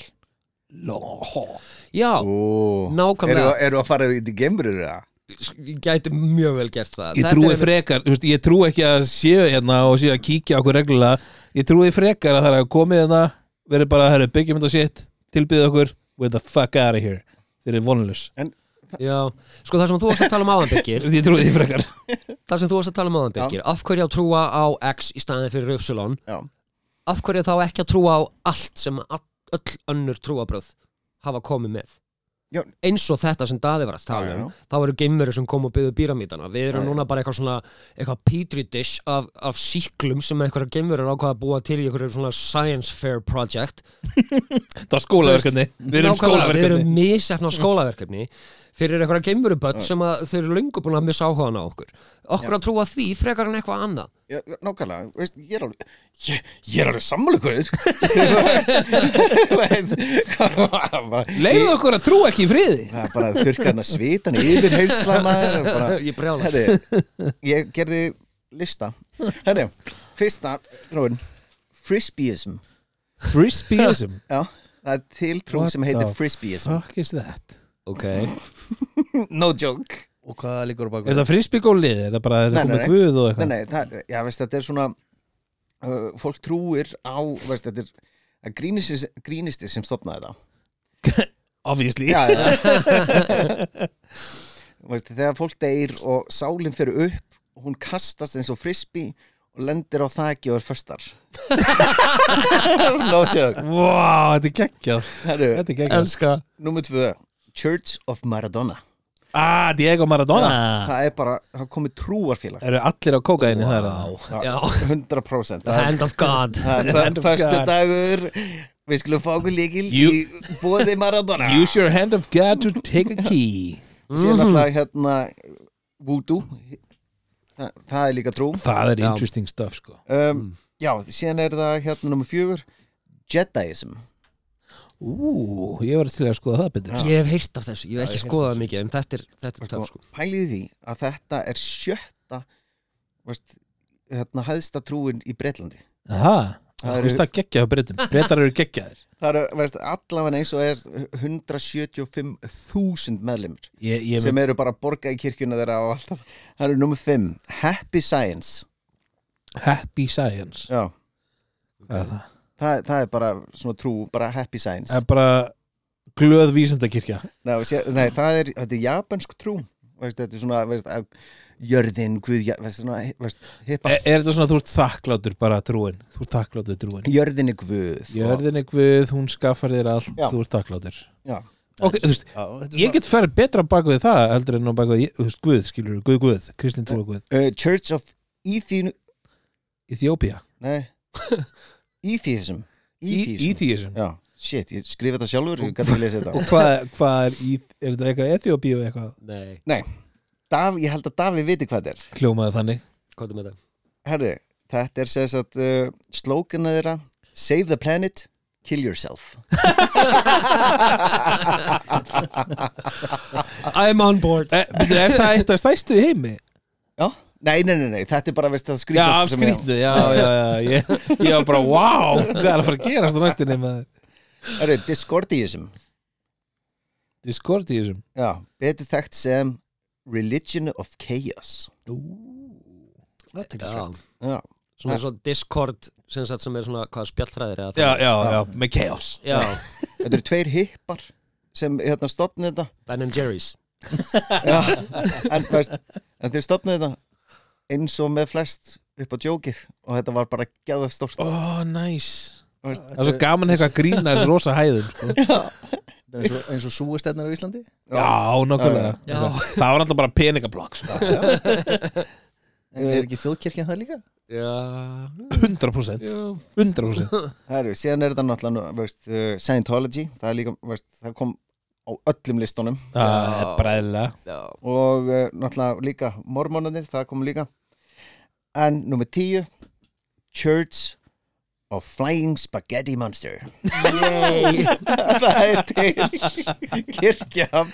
A: Lóhó
B: Já,
C: Ó,
B: Nákvæmlega.
C: Eru- Eru að fara út í gemurur það?
B: ég gæti mjög vel gert það
A: Ég
B: Þetta
A: trúi
B: er-
A: frekar, þú veist, ég trúi ekki að séu hérna og séu að kíkja á okkur reglulega Ég trúi því frekar að það er að komið hérna verið bara að byggjum þetta sitt tilbyðið okkur, we're the fuck out of here Þeir eru vonlus
B: Já, sko það sem þú varst að tala um áðan Birgir
A: Ég trúi því frekar
B: Það sem þú varst að tala um áðan Birgir Af hverju að trúa á X í staðin fyrir Röfsulon
C: Já,
B: Af hverju þá ekki að trúa á allt sem all- öll önnur trúabröð hafa komið með
C: Já.
B: eins og þetta sem Daði var að tala
C: Já,
B: um
C: já.
B: þá eru geimveru sem kom og byggðu píramítana við erum
C: Já, já.
B: núna bara eitthvað svona eitthvað petri dish af, af síklum sem einhverja geimverur ákvaða að búa til í einhverju svona science fair project
A: Það var skólaverkefni Við erum
B: Nákvæmlega, við
A: skólaverkefni
B: erum misjafna skólaverkefni fyrir einhverja geimveruböld sem að þau eru löngu búin að missa áhugaðan á okkur okkur að trúa því frekar en eitthvað annað
C: Já, nákvæmlega, veist, ég er alveg ég, ég er alveg sammálugur
A: Leifðu okkur að trúa ekki í friði
C: Það er bara að þurrka þarna svitan yfir heilsla maður og bara,
B: ég brjála
C: herri, ég gerði lista herri, fyrsta tróin, frisbeeism
A: Frisbeeism
C: já, það er til trú
A: What
C: sem
A: the
C: heitir frisbeeism
A: Fuck is that
B: ok,
C: no joke
D: og hvað líkur á
A: Er
D: baku
A: það frisbeególið? Er það bara er
C: Nei,
A: það komið
C: nei.
A: guð og
C: nei,
A: eitthvað?
C: nei, það, já, veist, þetta er svona uh, fólk trúir á veist, þetta er að grínisti, grínisti sem stopnaði það
A: Obviously
C: já, já. veist, þegar fólk deyr og sálinn fer upp hún kastast eins og frisbee og lendir á þaki og er föstar Nótjög
A: Vá, þetta er geggjað Þetta er geggjað
B: elska
C: Númer tvö Church of Maradona
A: Ah, Diego Maradona
C: Það er bara, það komið trúarfélag
A: Eru allir á kókaðinni þar
B: já,
C: 100%
B: the
C: Það er-
B: hand of god
A: hand
C: það er
A: of
C: föstu
A: God.
C: dagur Við skulum fá okkur líkil
A: You-
C: í bóði Maradona
A: Use your hand of God to take a key
C: Síðan náttúrulega hérna Voodoo Þa, Það er líka trú
A: Það er
B: Já.
A: interesting stuff sko
C: um, Já, síðan er það hérna nummer fjögur Jediism
A: Ú, ég var til að skoða það betur
B: ég hef heyrt af þessu, ég hef ekki skoðað mikið en þetta er, þetta er töf sko
C: Pælið í því að þetta er sjötta veist, hérna, hæðsta trúin í Bretlandi
A: Aha,
C: Það
A: það
C: eru-
A: er það geggjað á breytum Breytar eru geggjaðir
C: Það eru veist, allavega eins og er 175.000 meðlimir
A: Ég, ég
C: sem eru bara að borga í kirkjuna þeirra og alltaf Það eru nummer 5, Happy Science
A: Happy Science
C: Já,
A: Hvað er það?
C: það, það er bara svona trú, bara Happy Science
A: Það er bara glöð vísindakirkja
C: Nei, sé, nei það er, þetta er japansk trú veist, Þetta er svona, veist, að, jörðin, guð, ja- veist, svona, veist, hippa
A: er, er þetta svona að þú ert þakklátur bara trúin Þú ert þakklátur trúin
C: Jörðin er guð
A: Eh. Jörðin er guð, hún skaffar þér allt
C: Já.
A: Þú ert þakklátur
C: Já,
A: Ok, þú veist,
D: Já, þetta er
A: ég get farið betra bak við það heldur en á bak við, þú veist, Guð, skilur Guð, Guð, Kristín trúa Guð
C: uh, Church of Ethin
A: Íþjópía,
C: Nei Íþýðisum
A: Íþjópísum
C: Já, shit, ég skrifa þetta sjálfur Ég gæti ekki lesið þetta
A: Og hvað hvað er, í, er þetta eitthvað Íþjópíu eitthvað
B: nei,
C: Dav, Ég held að Davi viti hvað þetta er
A: hljómaði þannig
B: hvað er með þetta?
C: Herri, þetta er sem sagt uh, slókana þeirra Save the planet, kill yourself
B: I'm on board
A: e, byrju, Er það eitt af stæstu í heimi?
C: Já, nei, nei, nei, nei, þetta er bara veist, það
A: Já,
C: skrýtast
A: af skrýtnu, já, já, já Ég, ég var bara, wow, hvað er að fara að gerast á næstinni með
C: Herri, Discordiism
A: Discordísum
C: Já, betur þekkt sem Religion of Chaos
B: já,
C: Já,
B: svona svo Discord sem, sagt, sem er svona hvað spjallfræðir eða
A: Já, já, já, með chaos
B: það já,
C: þetta eru tveir hippar sem hérna stopnið þetta
B: Ben and Jerry's
C: Já, en, veist, en þeir stopnaði þetta eins og með flest upp á djókið og þetta var bara gæða stort
A: Ó, næs
C: Veist,
A: Það er svo gaman eitthvað grínar rosa hæðum sko.
D: Þetta er eins og, eins og súastefnar á Íslandi
A: Já, nokkulega
B: Já.
A: Það var alltaf bara peningablokk sko.
D: en er ekki þjóðkirkjan það líka?
B: já,
A: 100% 100%
C: það eru, síðan er þetta náttúrulega nú, veist, uh, Scientology, það er líka veist, það kom á öllum listunum
A: Það er bræðilega
B: já.
C: og uh, náttúrulega líka mormónanir, það kom líka en nummer tíu Church of Flying Spaghetti Monster
B: Nei.
C: það er til kirkja sem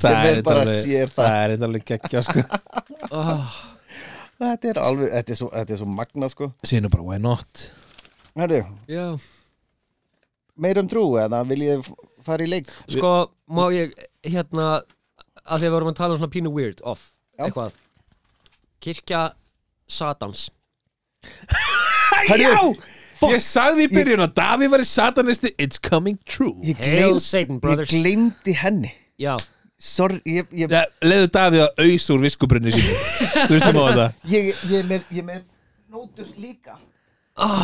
A: Það
C: er
A: er
C: bara
A: alveg-
C: sér það
A: Það er eitthvað alveg geggja sko.
C: Ah, Þetta er alveg, þetta er svo, þetta er svo magna sko
A: Sýnum bara, why not
C: Herru,
B: já.
C: meir um trú eða vil ég f- fara í leik
B: sko, má ég hérna að því að við vorum að tala um svona pínu weird off,
C: Já.
B: eitthvað kirkja satans
A: Já, ég sagði í byrjun að Davíð var satanisti It's coming true
C: Ég
B: Hail
C: gleym-
B: Satan,
C: ég
B: brothers.
C: gleymdi henni
B: já,
C: Sorry, ég, ég,
A: Ja, Leðu Davíð að auðs úr viskubrunni sín Þú veist það þetta
C: ég, ég, er með, ég er með nótur líka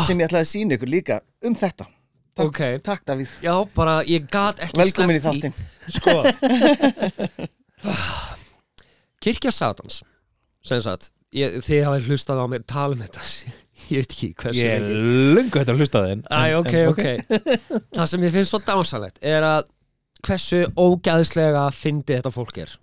C: sem ég ætlaði að sína ykkur líka um þetta Takk.
B: ok
C: Takk Davíð,
B: Já, bara ég gat ekki
C: velkomin í
B: sleppt
C: þáttinn
B: Sko Kirkja Satans sem sagt, ég, þið hafið hlustað á mér tala um þetta ég veit ekki hversu
A: Ég er
B: lengi.
A: löngu þetta að hlusta á þeim
B: Æ, ok, ok Það sem ég finnst svo dásanlegt er að hversu ógæðislega fyndi þetta fólk er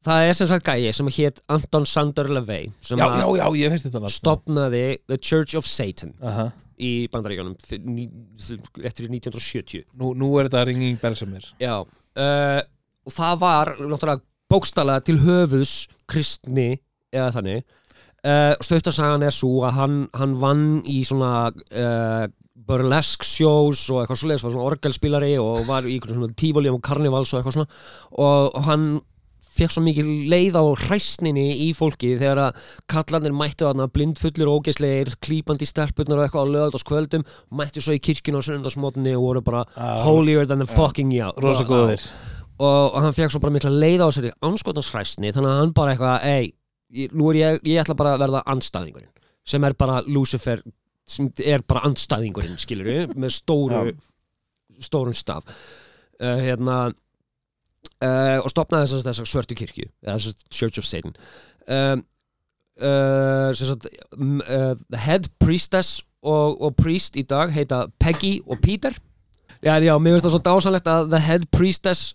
B: Það er sem sagt gæi sem hét Anton Sander LaVey sem
A: Já,
B: að
A: já, já, ég veist þetta nafn.
B: stopnaði The Church of Satan
A: Aha.
B: í bandaríkjónum eftir 1970
A: Nú, nú er þetta ringing bell sem er
B: Já uh, og það var náttúrulega bókstala til höfus kristni eða þannig uh, stöttasagan er svo að hann, hann vann í svona uh, burlesk shows og eitthvað svoleiðis var svona orgelspilari og var í einhverjum svona tífóljum og karnivals og eitthvað svona og hann fekk svo mikið leið á hræsninni í fólki þegar að kallarnir mættu þarna blindfullir og ógeislegir klípandi stelpurnar og eitthvað á lögaldagskvöldum mættu svo í kirkjun á söndagsmótni og voru bara holier than the fucking já
A: Rosa góðir
B: og, og hann fekk svo bara mikla leið á sér anskotans hræsni þannig að hann bara eitthvað ei, ég- nú er ég, ég ætla bara að verða andstæðingurinn sem er bara Lucifer sem er bara andstæðingurinn skilur við, með stóru stórun staf uh, hérna uh, og stopnaði þess að svörtu kirkju eða þess að Church of Satan um, uh, sem sagt, m- uh, the head priestess og, og priest í dag heita Peggy og Peter já, en já, mér finnst það svo dásanlegt að the head priestess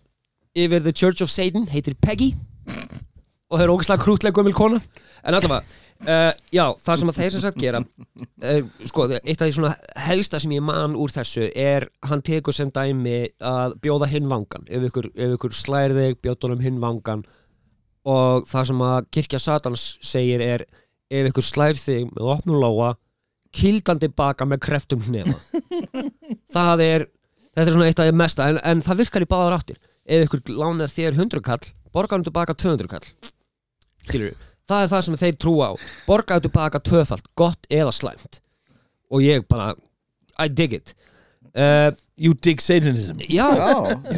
B: yfir the Church of Satan heitir Peggy og þau eru ógeðslega krútlega gömul kona en allavega Uh, já, það sem að þeir sem sagt gera uh, sko, eitt af því svona helsta sem ég man úr þessu er hann tekur sem dæmi að bjóða hinn vangan ef ykkur, ef ykkur slæri þig, bjóðunum hinn vangan og það sem að kirkja satans segir er ef ykkur slæri þig með opnum lóa kildandi baka með kreftum hnefa það er þetta er svona eitt af því mesta en, en það virkar í báðar áttir ef ykkur lánar þér 100 kall borgarum tilbaka 200 kall skilur það er það sem þeir trúa á borgaðu tilbaka tvöfalt, gott eða slæmt og ég bara I dig it uh,
A: You dig Satanism
B: já,
D: Já,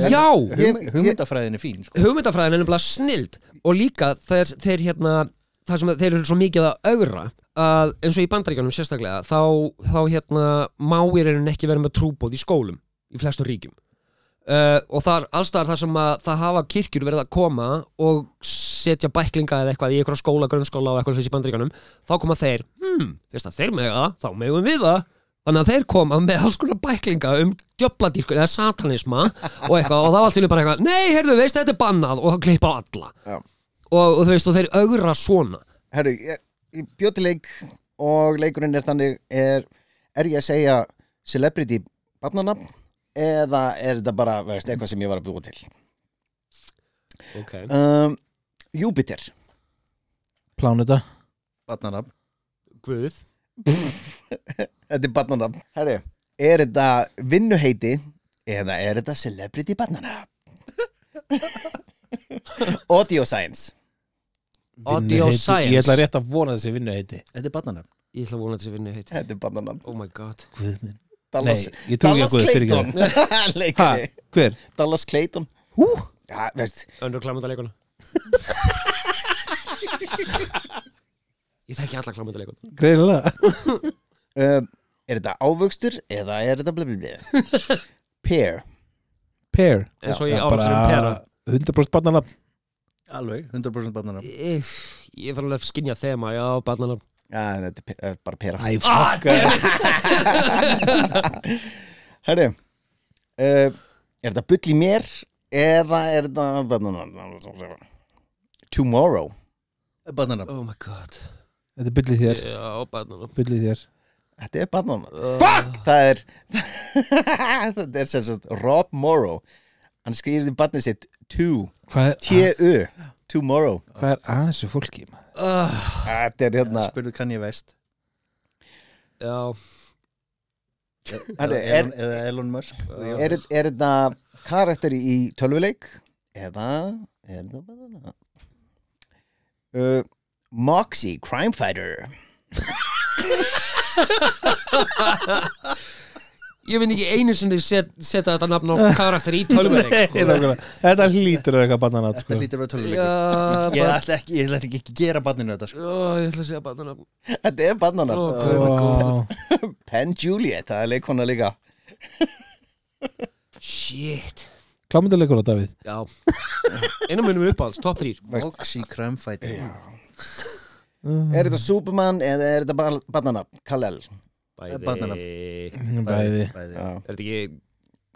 B: já
D: Hugmy- hugmyndafræðin er fín sko.
B: hugmyndafræðin er nefnilega snild og líka þeir, þeir hérna það sem þeir eru svo mikið að augra að eins og í bandaríkjanum sérstaklega þá, þá hérna má í rauninni ekki vera með trúbóð í skólum í flestum ríkjum uh, og þar allstaðar þar sem að það hafa kirkjur verið að koma og setja bæklinga eða eitthvað í einhverja skóla, grunnskóla og eitthvað þessi í bandaríkjanum þá koma þeir, hmm, veist að þeir mega það, þá megum við það Þannig að þeir koma með alls konar bæklinga um djöfladýrkun eða satanisma og eitthvað og það var allir bara eitthvað, nei, heyrðu, veist, þetta er bannað og það klippa á alla
C: Já.
B: og, og þú veist, og þeir augra svona
C: Herru, ég, ég bjó til leik og leikurinn er þannig er, er ég að segja celebrity barnanafn eða er þetta bara veist, eitthvað sem ég var að búa til
B: okay.
C: um, Júpiter
A: Pláneta
D: Barnanafn.
B: Guð
C: Þetta er barnanafn Herru, er þetta vinnuheiti eða er þetta celebrity barnanafn Audio Science
B: Audio
A: Vinnuheiti.
B: Science
A: Ég ætla rétt að vona þessi vinnu heiti
D: Þetta er barnanafn
B: Ég ætla að vona þessi vinnu heiti
C: Þetta er barnanafn
B: Oh my god
A: Guðminn Nei,
C: Dallas,
A: ég trú ekki að
C: Dallas
A: Guð fyrir
C: Clayton
A: ekki Ha,
C: Leikari
A: hver?
C: Dallas Clayton
A: Hú?
C: Já, veist
B: Öndur klámyndaleguna Ég þekki alla klámyndaleguna
A: Greinilega
C: um, Er þetta ávöxtur eða er þetta blablabla Pear
A: Pear
B: En svo
A: Já,
B: ég ára um pera
A: 100% barnanafn
D: Alveg, 100% barnanafn
B: Ég ég fer alveg að skinja þema, já, barnanam
C: Já, þetta er pe- eh, bara pera
A: Æ, fuck eh.
C: Herru um, Er þetta bull í mér eða er þetta blablabla Tomorrow
D: Barnanafn
B: Oh my god
A: Þetta er byllið þér
B: Já, barnanam
A: Byllið þér
C: Þetta er barnanafn Fuck! Það er Þetta er sem sagt Rob Morrow Hann skrifir því barnið sitt to
A: Hvað er, að,
C: T-U Tomorrow
A: hvað er að þessu fólki? maður?
B: Ah,
C: Þetta er hérna
D: Spurðu kann ég veist
B: Já,
C: Herru,
D: eða,
C: er-
D: Elon, eða Elon Musk
C: er, er þetta karakter í tölvuleik eða er þetta bara það uh, Moxie, Crime Fighter
B: ég veit ekki einu sinni set, setja þetta nafn á karakter í tölvuleik sko.
A: Nákvæmlega. Þetta hlýtur að vera eitthvað barnanafn
D: Þetta
A: sko.
D: lítur að vera töluleikur
B: Já,
D: Ég
B: bara-
D: ætla ekki, ég ætla ekki að gera barninu þetta sko.
B: Ó, ég ætla að segja barnanam
C: þetta er bannana
B: Ó,
C: uh,
B: guð.
A: Vá.
C: Penn Juliet, það er leikona líka
B: Shit
A: Klámyndarleikur á Davíð
B: Já Einum munum uppáhalds, top 3
D: Moxie Crumfighter
C: Er þetta Superman eða er þetta bara barnana? Kal-El
B: Bæði
D: Barnanna.
B: Er
A: Bæði,
D: Bæði.
C: Já.
B: þetta ekki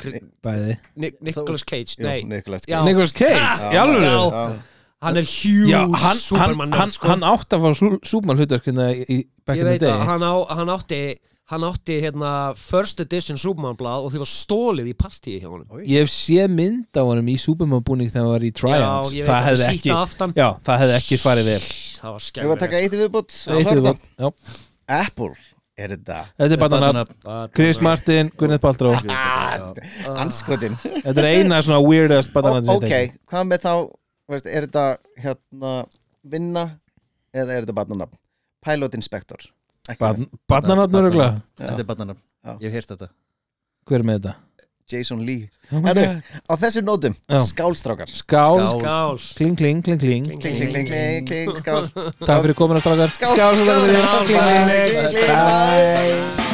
B: Kri-
A: bæði
B: Ni- Nicolas Cage,
C: Jú,
B: nei
C: Nicolas
B: Já.
C: Cage
A: Nicolas Cage, í alvöru
B: Já, hann er huge
A: Já, hann, hann,
B: Superman
A: hann,
B: sko.
A: hann átti að fá súbmann hlutverk hérna í back
B: Ég
A: in the
B: veit að
A: day
B: hann, á, hann átti hann átti hérna first edition Superman blad og því var stólið í partíi hjá honum
A: Ég hef séð mynd á honum í Superman búning þegar hann var í Triumphs
B: Já, ég veit
A: það
B: að
A: hefði
B: hann
A: ekki,
B: sýtti aftan
A: já, það hefði ekki farið vel
B: Það var
C: Ég var að
B: skemmur
C: taka eitt í viðbútt
A: Eitt í viðbót, já.
C: Apple Er þetta
A: Þetta er bara hann Chris
B: Martin
A: Martin, Gwyneth Paltrow
C: anskotin
A: Þetta er eina svona weirdest banana
C: Ó, Ok, hvað með þá veist, Er þetta hérna vinna eða er þetta barnanab Pilot Inspector Ekki það.
A: Bananatnur ögla
D: Þetta er barnanab Ég hef heyrt þetta
A: Hver er með þetta?
C: Jason Lee
A: Oh my
C: Herru,
A: God.
C: á þessu nótum
A: Já.
C: Skálstrákar
B: tá.
A: Skál,
B: Skál
A: kling, kling, kling, kling
C: Kling, kling, kling, kling, kling, skál
A: Takk fyrir komuna strákar
C: Skál, skál,
A: fyrir
B: skál,
A: Kling, kling,
C: Bye,
A: kling
C: kling, kling, bye.
A: Bye